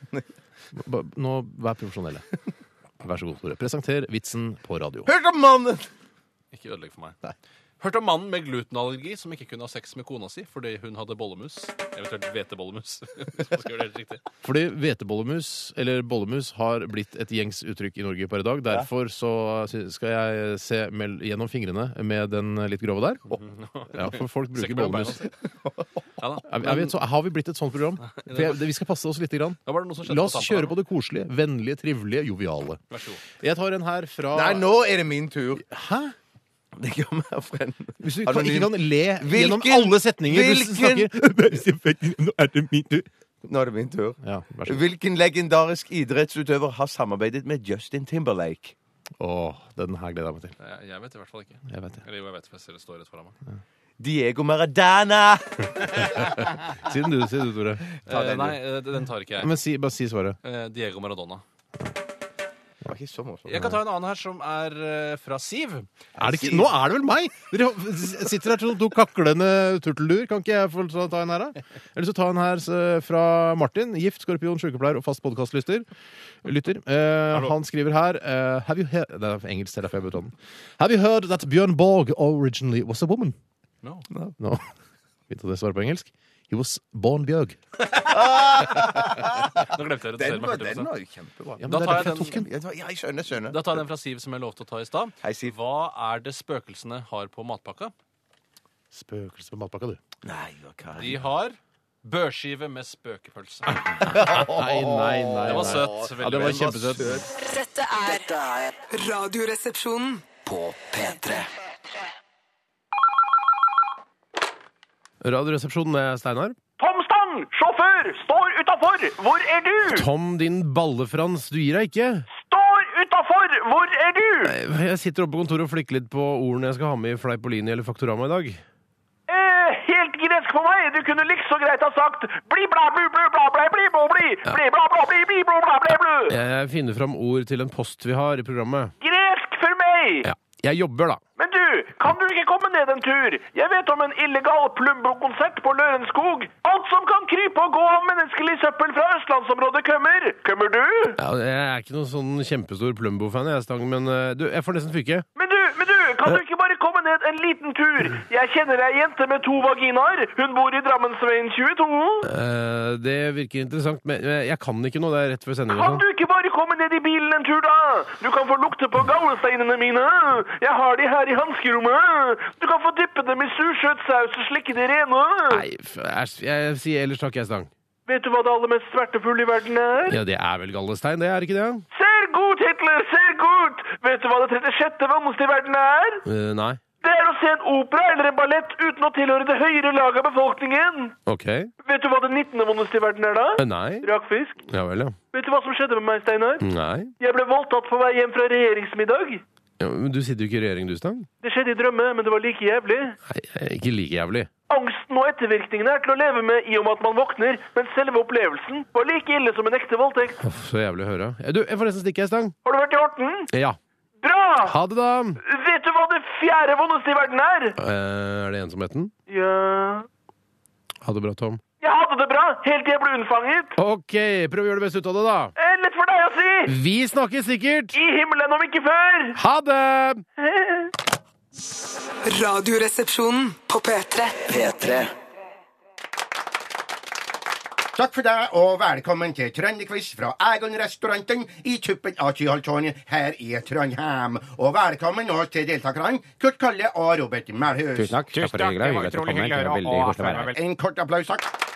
C: Ba- Nå, vær profesjonelle. Vær så god, Tore. Presenter vitsen på radio.
B: Hørte om mannen!
D: Ikke ødelegg for meg. Hørte om mannen med glutenallergi som ikke kunne ha sex med kona si fordi hun hadde bollemus. Eventuelt hvetebollemus. hvis man skal gjøre det helt riktig.
C: Fordi hvetebollemus, eller bollemus, har blitt et gjengs uttrykk i Norge per i dag. Derfor så sy- skal jeg se mel gjennom fingrene med den litt grove der. Ja, for folk
D: Ser
C: bruker
D: ikke mellom
C: bollemus.
D: beina, Ja da.
C: Jeg, jeg vet, så har vi blitt et sånt program? For jeg, vi skal passe oss litt. Grann.
D: Da var det noe som skjedde på
C: La oss
D: tampen her
C: kjøre på det koselige, vennlige, trivelige, joviale.
D: Vær så god.
C: Jeg tar en her fra
B: Nei, nå er det min tur.
C: Hæ?
B: Det kommer her fra en
C: Hvis du kan,
B: anonym-
C: ikke kan le gjennom
B: Hvilken-
C: alle setninger
B: hvilken-
C: du snakker Nå er det min tur.
B: Nå er det min tur.
C: Ja, vær så god.
B: Hvilken legendarisk idrettsutøver har samarbeidet med Justin Timberlake?
C: Åh, den her gleder jeg meg til.
D: Jeg- Eh, Jeg vet i hvert fall ikke.
C: Jeg vet det.
D: Eller jo, jeg vet, for jeg ser det står rett foran meg.
B: Diego Maradona!
C: Siden du, sier du, Tore.
B: Ta den, du.
D: Eh, nei, eh, den tar ikke jeg.
C: Men si, bare si svaret.
D: Eh, Diego Maradona.
B: Det var ikke så morsomt.
D: Jeg kan ta en annen her som er eh, fra Siv.
C: Er det ikke, nå er det vel meg! Dere sitter her som to kaklende turtelduer. Kan ikke jeg få ta en her, da? Eller så ta en her eh, fra Martin. Gift, skorpion, sykepleier og fast podkastlytter. Lytter. Eh, han skriver her eh, Have you he Det er engelsk, det er derfor jeg bør ta den. Have you heard that Bjørn Borg originally was a woman?
D: No.
C: No. no. Vet du det svaret på engelsk? He was born Bjørg.
D: Nå glemte jeg det.
B: Den
D: Ser
B: var,
D: meg 40%.
B: den var jo kjempebra.
C: Ja, men
D: Da
C: det er
D: tar
C: derfor
D: jeg
C: jeg tok
D: den.
C: den.
B: Ja, jeg skjønner, skjønner.
D: Da tar jeg den fra Siv, som jeg lovte å ta i stad.
B: Hei, Siv.
D: Hva er det spøkelsene har på matpakka?
C: Spøkelse på matpakka, du.
B: Nei, hva kan
D: De har børskive med spøkepølse.
C: Nei, nei, nei.
D: Det var
C: nei.
D: søtt.
C: Ja, det var
D: veldig.
C: kjempesøtt.
F: Dette er, Dette er Radioresepsjonen.
C: Radioresepsjonen det er Steinar.
I: Tom Stang, sjåfør, står utafor, hvor er du?
C: Tom, din ballefrans, du gir deg ikke.
I: Står utafor, hvor er du?
C: Jeg sitter oppe på kontoret og flikker litt på ordene jeg skal ha med i Fleipolini eller Faktorama i dag.
I: Eh, helt gresk for meg, du kunne likså greit ha sagt bli bla blu blu bla bla bli bo bli, bli bla bla bli bli bla bla bli blu.
C: Jeg finner fram ord til en post vi har i programmet.
I: Gresk for meg!
C: Ja. Jeg jobber, da.
I: Men du, kan du ikke komme ned en tur? Jeg vet om en illegal Plumbo-konsert på Lørenskog. Alt som kan krype og gå av menneskelig søppel fra østlandsområdet kommer. Kommer du?
C: Ja, jeg er ikke noen sånn kjempestor Plumbo-fan, jeg, Stang, men eh, du, jeg får nesten fyke.
I: Men du, men du, kan du ikke bare komme ned en liten tur? Jeg kjenner ei jente med to vaginaer. Hun bor i Drammensveien 22.
C: Eh, det virker interessant, men eh, jeg kan ikke noe. Det er rett før sending.
I: Kan
C: og
I: du
C: sånn.
I: ikke bare komme ned i bilen en tur, da? Du kan få lukte på gaulesteinene mine. Jeg har de her i hanskerommet. Du kan få dyppe dem i sursøt saus og slikke de rene.
C: Nei, f- æsj, jeg sier ellers takk, jeg, Stang.
I: Vet du hva det aller mest smertefulle i verden er?
C: Ja, det er vel Gallestein, det, er ikke det?
I: Ser godt, Hitler, ser godt! Vet du hva det 36. vondeste i verden er?
C: Eh, nei.
I: Det er å se en opera eller en ballett uten å tilhøre det høyere laget av befolkningen.
C: OK. Eh,
I: Vet du hva det 19. vondeste i verden er da?
C: nei.
I: Rakfisk.
C: Ja vel, ja.
I: Vet du hva som skjedde med meg, Steinar?
C: Nei.
I: Jeg ble voldtatt på vei hjem fra regjeringsmiddag.
C: Ja, men du sitter jo ikke i regjering, du, Stang.
I: Det skjedde i drømme, men det var like jævlig.
C: Nei, jeg er Eh, ikke like jævlig.
I: Angsten og ettervirkningene er til å leve med i og med at man våkner, men selve opplevelsen var like ille som en ekte voldtekt.
C: Uff, så jævlig å høre. Eh, Du, jeg får nesten stikke, jeg, Stang.
I: Har du vært i Horten?
C: Ja.
I: Bra!
C: Ha det, da!
I: Vet du hva det fjerde vondeste i verden er?
C: Eh, er det ensomheten?
I: Ja...
C: Ha det bra, Tom.
I: Jeg hadde det bra, helt til jeg ble unnfanget.
C: OK, prøv å gjøre det beste ut av det, da.
I: Eh, Lett for deg å si!
C: Vi snakkes sikkert!
I: I himmelen om ikke før!
C: Ha det!
F: Radioresepsjonen på P3. P3.
M: Takk for det, og velkommen til Trønderquiz fra Egon-restauranten i tuppen av Tyholttårnet her i Trondheim. Og velkommen nå til deltakerne Kurt Kalle og Robert Melhus.
J: Tusen takk. Tusen takk, det var utrolig hyggelig å høre, og veldig koselig å være her.
M: En kort applaus, takk.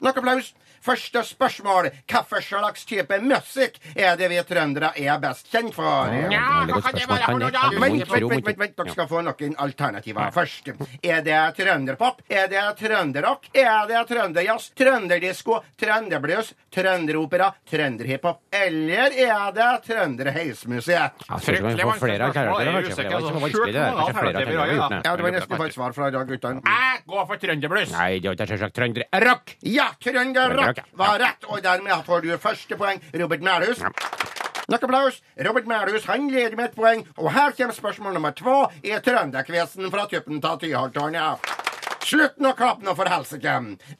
M: Nok applaus. Første spørsmål. Hvilken slags type musikk er det vi trøndere er best kjent for?
L: Ja, hva kan det være for noe da?
M: Vent, vent, vent, vent, vent. dere skal få noen alternativer først. Er det trønderpop? Er det trønderrock? Er det trønderjazz? Trønderdisko? Trønderblues? Trønderopera? Trønderhiphop? Eller er det trønderheismusikk?
L: Ja, så kan vi få flere av karakterene, kanskje, for det var ikke så vanskelig, det. Kanskje flere av karakterene vi har gjort, nei.
M: Ja, det var nesten å få et svar fra i dag, guttene.
L: Jeg går for trønderbluss. Nei, det er ikke selvsagt trønderrock.
M: Ja,
L: Trønderrock,
M: trønderrock
L: ja.
M: var rett, og dermed får du første poeng, Robert Mælhus. Nok applaus. Robert Mælhus han leder med et poeng, og her kommer spørsmål nummer to i Trønderkvesen fra tuppen av Tyholttårnet. Slutt nå klapp nå for helsike.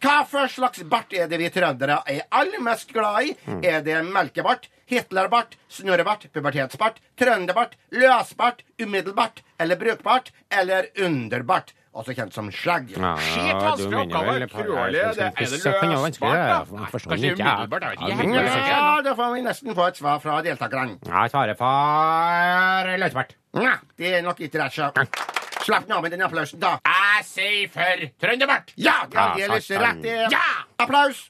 M: Hva for slags bart er det vi trøndere er aller mest glad i?
L: Mm.
M: Er det melkebart, Hitlerbart, snurrebart, pubertetsbart, trønderbart, løsbart, umiddelbart eller brukbart eller underbart? Også kjent som skjegg.
L: Ja,
M: Skit,
L: du
M: vanskelig
L: vinner
M: oppgave.
L: vel på-
M: Kråle,
L: jeg synes
M: det
L: ikke
M: er det
L: setningen var vanskelig,
M: løsbart, da?
L: jeg forstår
M: Kanskje
L: den ikke, jeg.
M: umiddelbart, jeg vet ikke.
L: Ja, men-
M: Ja, da får vi nesten få et svar fra deltakerne.
L: Jeg svarer for løsbart.
M: Nei, det er nok ikke rett, så. Slapp nå av med den applausen, da.
L: Jeg sier for trønderbart.
M: Ja, det
L: Ja,
M: er delvis
L: satan.
M: rett. det. Applaus!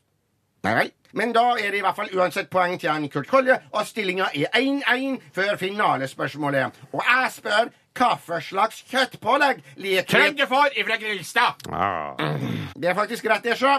M: Nei vel. Men da er det i hvert fall uansett poeng til han Kurt Kolje, og stillinga er 1-1 før finalespørsmålet. Og jeg spør hva for slags kjøttpålegg liker vi?
L: Trønderfår ifra Grilstad.
M: Mm. Det er faktisk rett, det, sjø.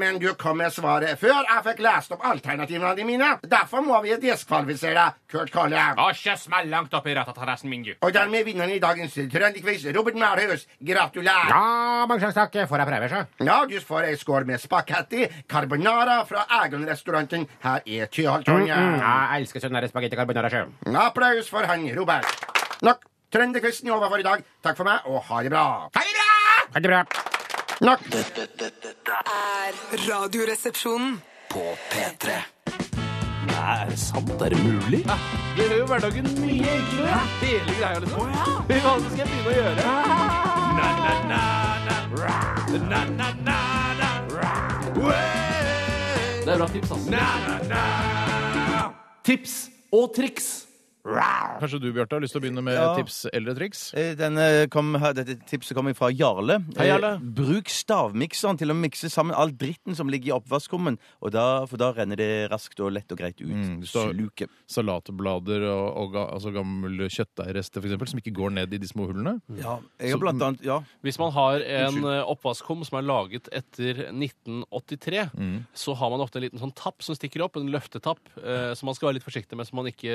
M: Men du kom med svaret før jeg fikk lest opp alternativene mine. Derfor må vi diskvalifisere deg, Kurt Kolje.
L: Og ikke smell langt opp i rattatarassen min, du.
M: Og dermed vinneren i dagens Trønderquiz, Robert Mælhus. Gratulerer!
L: Ja, mange slags takk. Får jeg prøve, så?
M: Ja, du får ei skål med spagetti carbonara fra Egon-restauranten her i Tyholttårnet.
L: Mm, mm. Jeg elsker sånn der spagetti carbonara sjø.
M: Applaus for han Robert. Nok Trønderquizen over for i dag. Takk for meg, og ha det bra. Ha det bra!
L: Ha det bra.
M: Nok.
F: Er Radioresepsjonen. På P3.
K: Nei, er det sant? Er det mulig?
D: Det gjør jo hverdagen mye enklere. Hele greia, liksom. Hva skal jeg begynne å gjøre?
K: Det er bra tips, altså. Tips og triks.
C: Kanskje du, Bjarte, har lyst til å begynne med
B: Ja.
C: tips eller triks?
B: Eh, Denne kom, her- dette tipset kommer fra Jarle.
C: Hei, Jarle.
B: Eh, Bruk stavmikseren til å mikse sammen all dritten som ligger i oppvaskkummen, og da, for da renner det raskt og lett og greit ut.
C: Mm,
B: Sluket.
C: Salatblader og, og ga, altså gamle kjøttdeigrester, for eksempel, som ikke går ned i de små hullene.
D: Mm.
B: Ja, jeg har blant annet Ja.
D: Hvis man har en
C: Unnskyld.
D: eh, oppvaskkum som er laget etter 1983,
C: Mm.
D: så har man ofte en liten sånn tapp som stikker opp, en løftetapp, eh, så man skal være litt forsiktig med så man ikke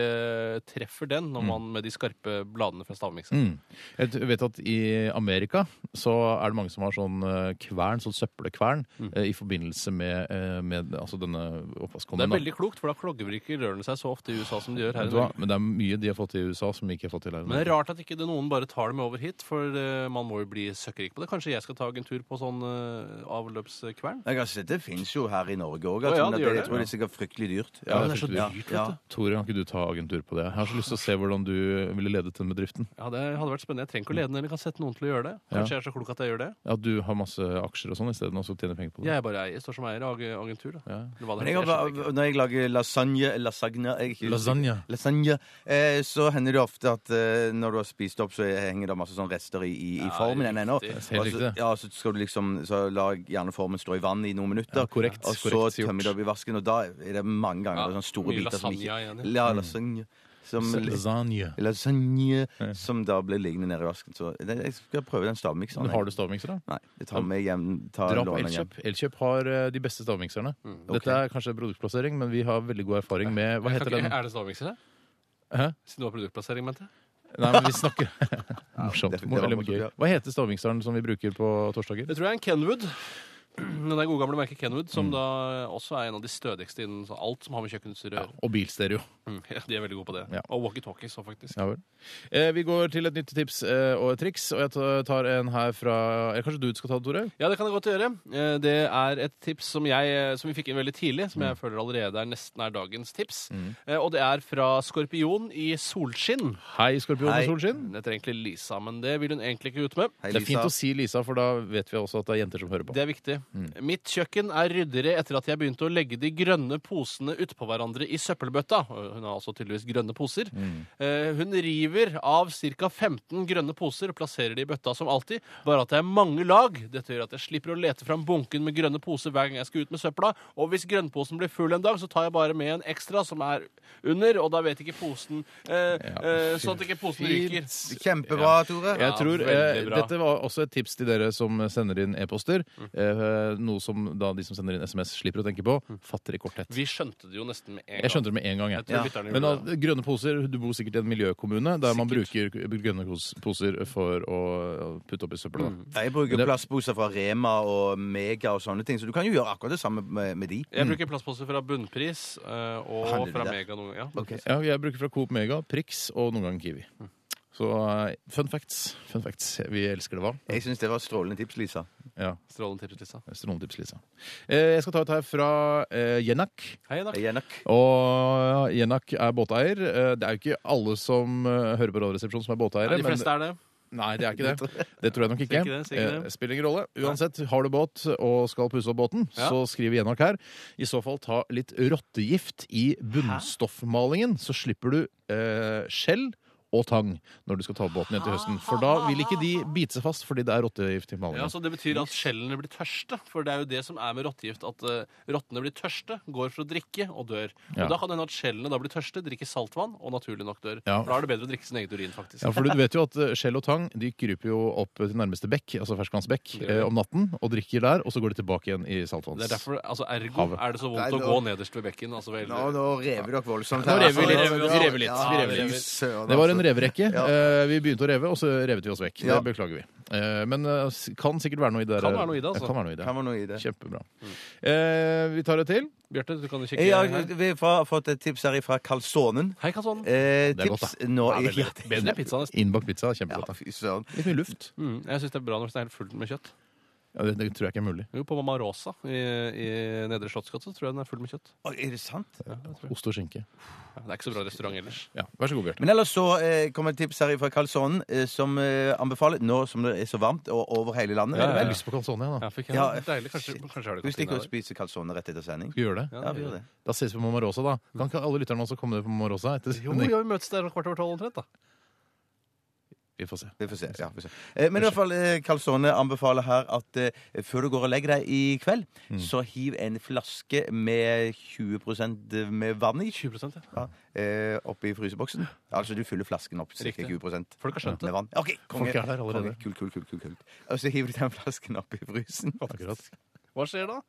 D: eh, treffer den når
C: Mm.
D: man med de skarpe bladene fra stavmikseren.
C: Mm. Jeg t- vet at i Amerika så er det mange som har sånn eh, kvern, sånn søppelkvern,
D: Mm.
C: eh, i forbindelse med, eh, med altså denne
D: Det
C: oppvaskkommen.
D: er
C: da.
D: veldig klokt, for da klogger ikke rørene seg så ofte i USA som de gjør her
C: Vet
D: i
C: du hva?
D: Norge.
C: Men det er mye de har fått til i USA som vi ikke har fått til her. i
D: Men det er
C: Norge.
D: rart at ikke det noen bare tar det med over hit, for eh, man må jo bli søkkrik på det. Kanskje jeg skal ta en tur på sånn eh, avløpskvern?
B: Jeg har sett det fins jo her i Norge òg.
D: Å, ja, det
B: jeg
D: gjør det.
B: tror det er sikkert fryktelig dyrt.
C: Ja, det er så dyrt,
D: vet
B: Ja.
D: du.
C: Tore, kan ikke du ta agentur på det? Jeg har så lyst til å se hvordan du ville ledet den bedriften.
D: Ja, det hadde vært spennende. Jeg trenger ikke å lede den, eller kan sette noen til å gjøre det.
C: Ja.
D: Kanskje jeg er så klok at jeg gjør det.
C: Ja, du har masse aksjer og sånn isteden, og så tjener penger på det.
D: Jeg er bare eier, står som eier av ag- agentur. Da. Eller hva
B: Men
D: det
B: jeg
D: heter.
B: har, når jeg lager lasagne, lasagne, jeg, ikke-
C: Lasagne.
B: lasagne eh, Så hender det ofte at eh, når du har spist opp, så henger det masse sånn rester i, i, i formen igjen ennå.
C: Det er helt
B: Og så-
C: riktig.
B: Ja, så skal du liksom Så la gjerne formen stå i vann i noen minutter.
C: Ja, korrekt,
B: og så
C: korrekt gjort.
B: tømmer du det opp i vasken, og da er det mange ganger
C: Ja,
B: sånne store
C: mye
B: biter som
C: lasagne
B: ikke
C: igjen, ja.
B: Ja,
C: Mm.
B: lasagne. Som,
C: Lasagne.
B: Lasagne, som da blir liggende nede i vasken. Så det- jeg skal prøve den stavmikseren.
C: Men har
B: jeg.
C: du stavmikser, da?
B: Nei. Jeg tar med hjem, tar
C: Dra på
B: låner hjem.
C: Elkjøp. Elkjøp har eh, de beste stavmikserne. Dette er kanskje produktplassering, men vi har veldig god erfaring med
D: Mm,
C: Hva
D: Jeg
C: heter
D: kan
C: den?
D: ikke- Er det stavmikser her?
C: Hæ?
D: Siden du har produktplassering, mente jeg.
C: Nei, men vi snakker Morsomt.
D: det- det var
C: Eller
D: morsomt,
C: gøy.
D: ja.
C: Hva heter stavmikseren som vi bruker på torsdager?
D: Jeg tror det er en Kenwood. Den der gode gamle merket Kenwood,
C: Mm.
D: som da også er en av de stødigste innen så alt som har med kjøkkenutstyr å gjøre.
C: Og bilstereo.
D: Mm, ja, de er veldig gode på det.
C: Ja.
D: Og walkietalkies òg, faktisk.
C: Ja vel. Eh, vi går til et nytt tips eh, og et triks, og jeg ta- tar en her fra Eller kanskje du skal ta det, Tore?
D: Ja, det kan jeg godt gjøre. Eh, Det er et tips som, jeg, som vi fikk inn veldig tidlig,
C: Mm.
D: som jeg føler allerede er nesten er dagens tips. Eh, Og det er fra Skorpion i Solskinn.
C: Hei, Skorpion og
D: Hei.
C: Solskinn.
D: Det heter egentlig Lisa, men det vil hun egentlig ikke ut med.
C: det er fint å si Lisa, for da vet vi også at det er jenter som hører på.
D: Det er viktig. Mitt kjøkken er ryddigere etter at jeg begynte å legge de grønne posene utpå hverandre i søppelbøtta. Hun har altså tydeligvis grønne poser. Eh, Hun river av ca. 15 grønne poser og plasserer de i bøtta som alltid, bare at det er mange lag. Dette gjør at jeg slipper å lete fram bunken med grønne poser hver gang jeg skal ut med søpla. Og hvis grønnposen blir full en dag, så tar jeg bare med en ekstra som er under, og da vet ikke posen eh, eh, Sånn at ikke posen ryker.
B: Kjempebra, Tore.
D: Ja,
C: Jeg tror eh,
D: veldig bra. Mm.
C: Dette var også et tips til dere som sender inn e-poster. Eh, noe som da de som sender inn SMS, slipper å tenke på. Fatter i korthet.
D: Mm. Vi skjønte det jo nesten med en gang.
C: Jeg skjønte det med en gang. Jeg.
D: Jeg tror lytterne
C: Men
D: gjorde det.
C: da, grønne poser, du bor sikkert i en miljøkommune der man bruker grønne pos- poser for å putte opp i søpla. da.
D: Mm.
B: Jeg bruker
C: Men det-
B: plastposer fra Rema og Mega og sånne ting, så du kan jo gjøre akkurat det samme med, med de.
D: Jeg bruker plastposer fra Bunnpris eh, og
B: Handler du
D: fra
B: der?
D: Mega noen ganger. Ja.
C: Ja, jeg bruker fra Coop Mega, Prix og noen ganger Kiwi.
D: Mm.
C: Så eh, fun facts. Fun facts. Vi elsker det, hva?
B: Jeg syns det var strålende tips, Lisa.
C: Ja.
D: Strålende tips, Lisa.
C: Strålende tips, Lisa. Eh, Jeg skal ta et her fra eh, Jenak.
D: Hei, Jenak.
C: Og Jenak er båteier. Eh, Det er jo ikke alle som eh, hører på Radioresepsjonen som er båteiere.
D: Nei, de fleste er det.
C: Nei, det er ikke det. Det tror jeg nok ikke.
D: Sier ikke det, sier ikke
C: Eh,
D: det.
C: Spiller ingen rolle. Uansett, har du båt og skal pusse opp båten,
D: Ja.
C: så skriver Jenak her. I så fall ta litt rottegift i bunnstoffmalingen, så slipper du eh, skjell og tang når du skal ta opp båten igjen til høsten. For da vil ikke de bite seg fast fordi det er rottegift
D: Ja,
C: i malingen.
D: så Det betyr at skjellene blir tørste. For det er jo det som er med rottegift. At eh, rottene blir tørste, går for å drikke og dør.
C: Ja.
D: Og Da kan det hende at skjellene da blir tørste, drikker saltvann og naturlig nok dør.
C: Ja.
D: For Da er det bedre å drikke sin egen urin, faktisk.
C: Ja, for du vet jo at eh, skjell og tang de kryper jo opp til nærmeste bekk, altså ferskvannsbekk, eh, om natten og drikker der, og så går de tilbake igjen i saltvanns...
D: Det er derfor, altså Ergo
C: Havet.
D: er det så vondt
C: Nei,
D: å
C: nå-
D: gå nederst ved bekken. Altså, ved-
B: Nå, nå rever dere
D: Sånn,
B: voldsomt. her,
C: Nå rever vi
B: altså.
C: litt. Vi rever litt. Vi rever
B: Ja, fy
C: litt.
B: søren,
C: Det var
B: altså.
C: en reverekke.
B: Ja.
C: Eh, Vi begynte å reve, og så revet vi oss vekk. Det
B: Ja.
C: beklager vi. Eh, Men eh, s- kan sikkert være noe i det. der.
D: Kan være noe i det, altså.
C: Ja, Kan være noe i det.
B: Kan være noe i det.
C: Kjempebra. Eh, Vi tar et til.
D: Bjarte, du kan jo
B: Jeg har, vi har fått et tips her fra Kalsonen.
D: Hei, Kalsonen.
B: Eh,
C: Det er godt,
B: tips
C: da.
B: nå
C: Ja, veldig godt. Bedre enn pizza, nesten. Innbakt pizza er kjempegodt,
B: Ja, fy søren.
C: Litt mye luft.
D: Mm, jeg syns det er bra når det er helt fullt med kjøtt.
C: Ja, det, det tror jeg ikke er mulig.
D: Jo, På Mamma Rosa i, i Nedre Slottsgate så tror jeg den er full med kjøtt.
B: Er det sant?
D: Ja, det, tror jeg.
C: Ost og skinke.
D: Ja, det er ikke så bra restaurant ellers.
C: Ja, Vær så god, Bjarte.
B: Men ellers så eh, kommer et tips her fra Kalsonen, eh, som eh, anbefaler, nå som det er så varmt og over hele landet
C: Jeg har lyst på calzone, jeg, da.
D: fikk jeg. Deilig. Kanskje- kanskje har det
B: Husk
D: gått inn
B: ikke å
D: der.
B: spise calzone rett etter sending.
C: Skal vi gjøre det?
B: Ja, vi gjør det.
C: Da ses vi på Mamma Rosa, da. Kan ikke alle lytterne også komme på Mamma Rosa? Etter
D: Jo, ja, vi møtes der kvart over tolv omtrent, da.
C: Vi får se.
B: Vi får se, ja, vi får se. Eh, Men i hvert fall, eh, Calzone anbefaler her at eh, før du går og legger deg i kveld, så hiv en flaske med 20 med vann i.
D: 20 ja.
B: eh, Oppi fryseboksen. Altså, du fyller flasken opp ca.
D: Riktig.
B: 20
D: Folk har skjønt det.
B: Med vann. Ok, konge.
D: Folk er der allerede.
B: Konge. Kult, kult, kult, kult, kult. Og så hiver du den flasken oppi frysen.
D: Hva skjer da?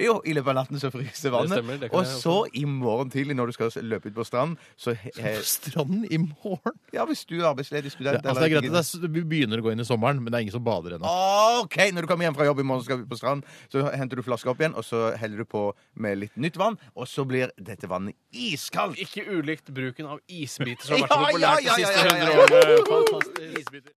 B: Jo, i løpet av natten så fryser vannet.
D: stemmer, det kan
B: og
D: jeg også.
B: så i morgen tidlig når du skal løpe ut på stranden, så
C: På stranden i morgen?
B: Ja, hvis du er arbeidsledig
C: Ja,
B: student
C: altså, det er greit at det er, vi begynner å gå inn i sommeren, men det er ingen som bader ennå.
B: Ah, OK! Når du kommer hjem fra jobb i morgen, skal vi på stranden, så henter du flaska opp igjen, og så heller du på med litt nytt vann, og så blir dette vannet iskaldt.
D: Ikke ulikt bruken av isbiter som har vært
B: Ja,
D: så populært
B: ja, ja,
D: de
B: ja,
D: siste
B: ja, ja.
D: 100 årene. Fantastisk.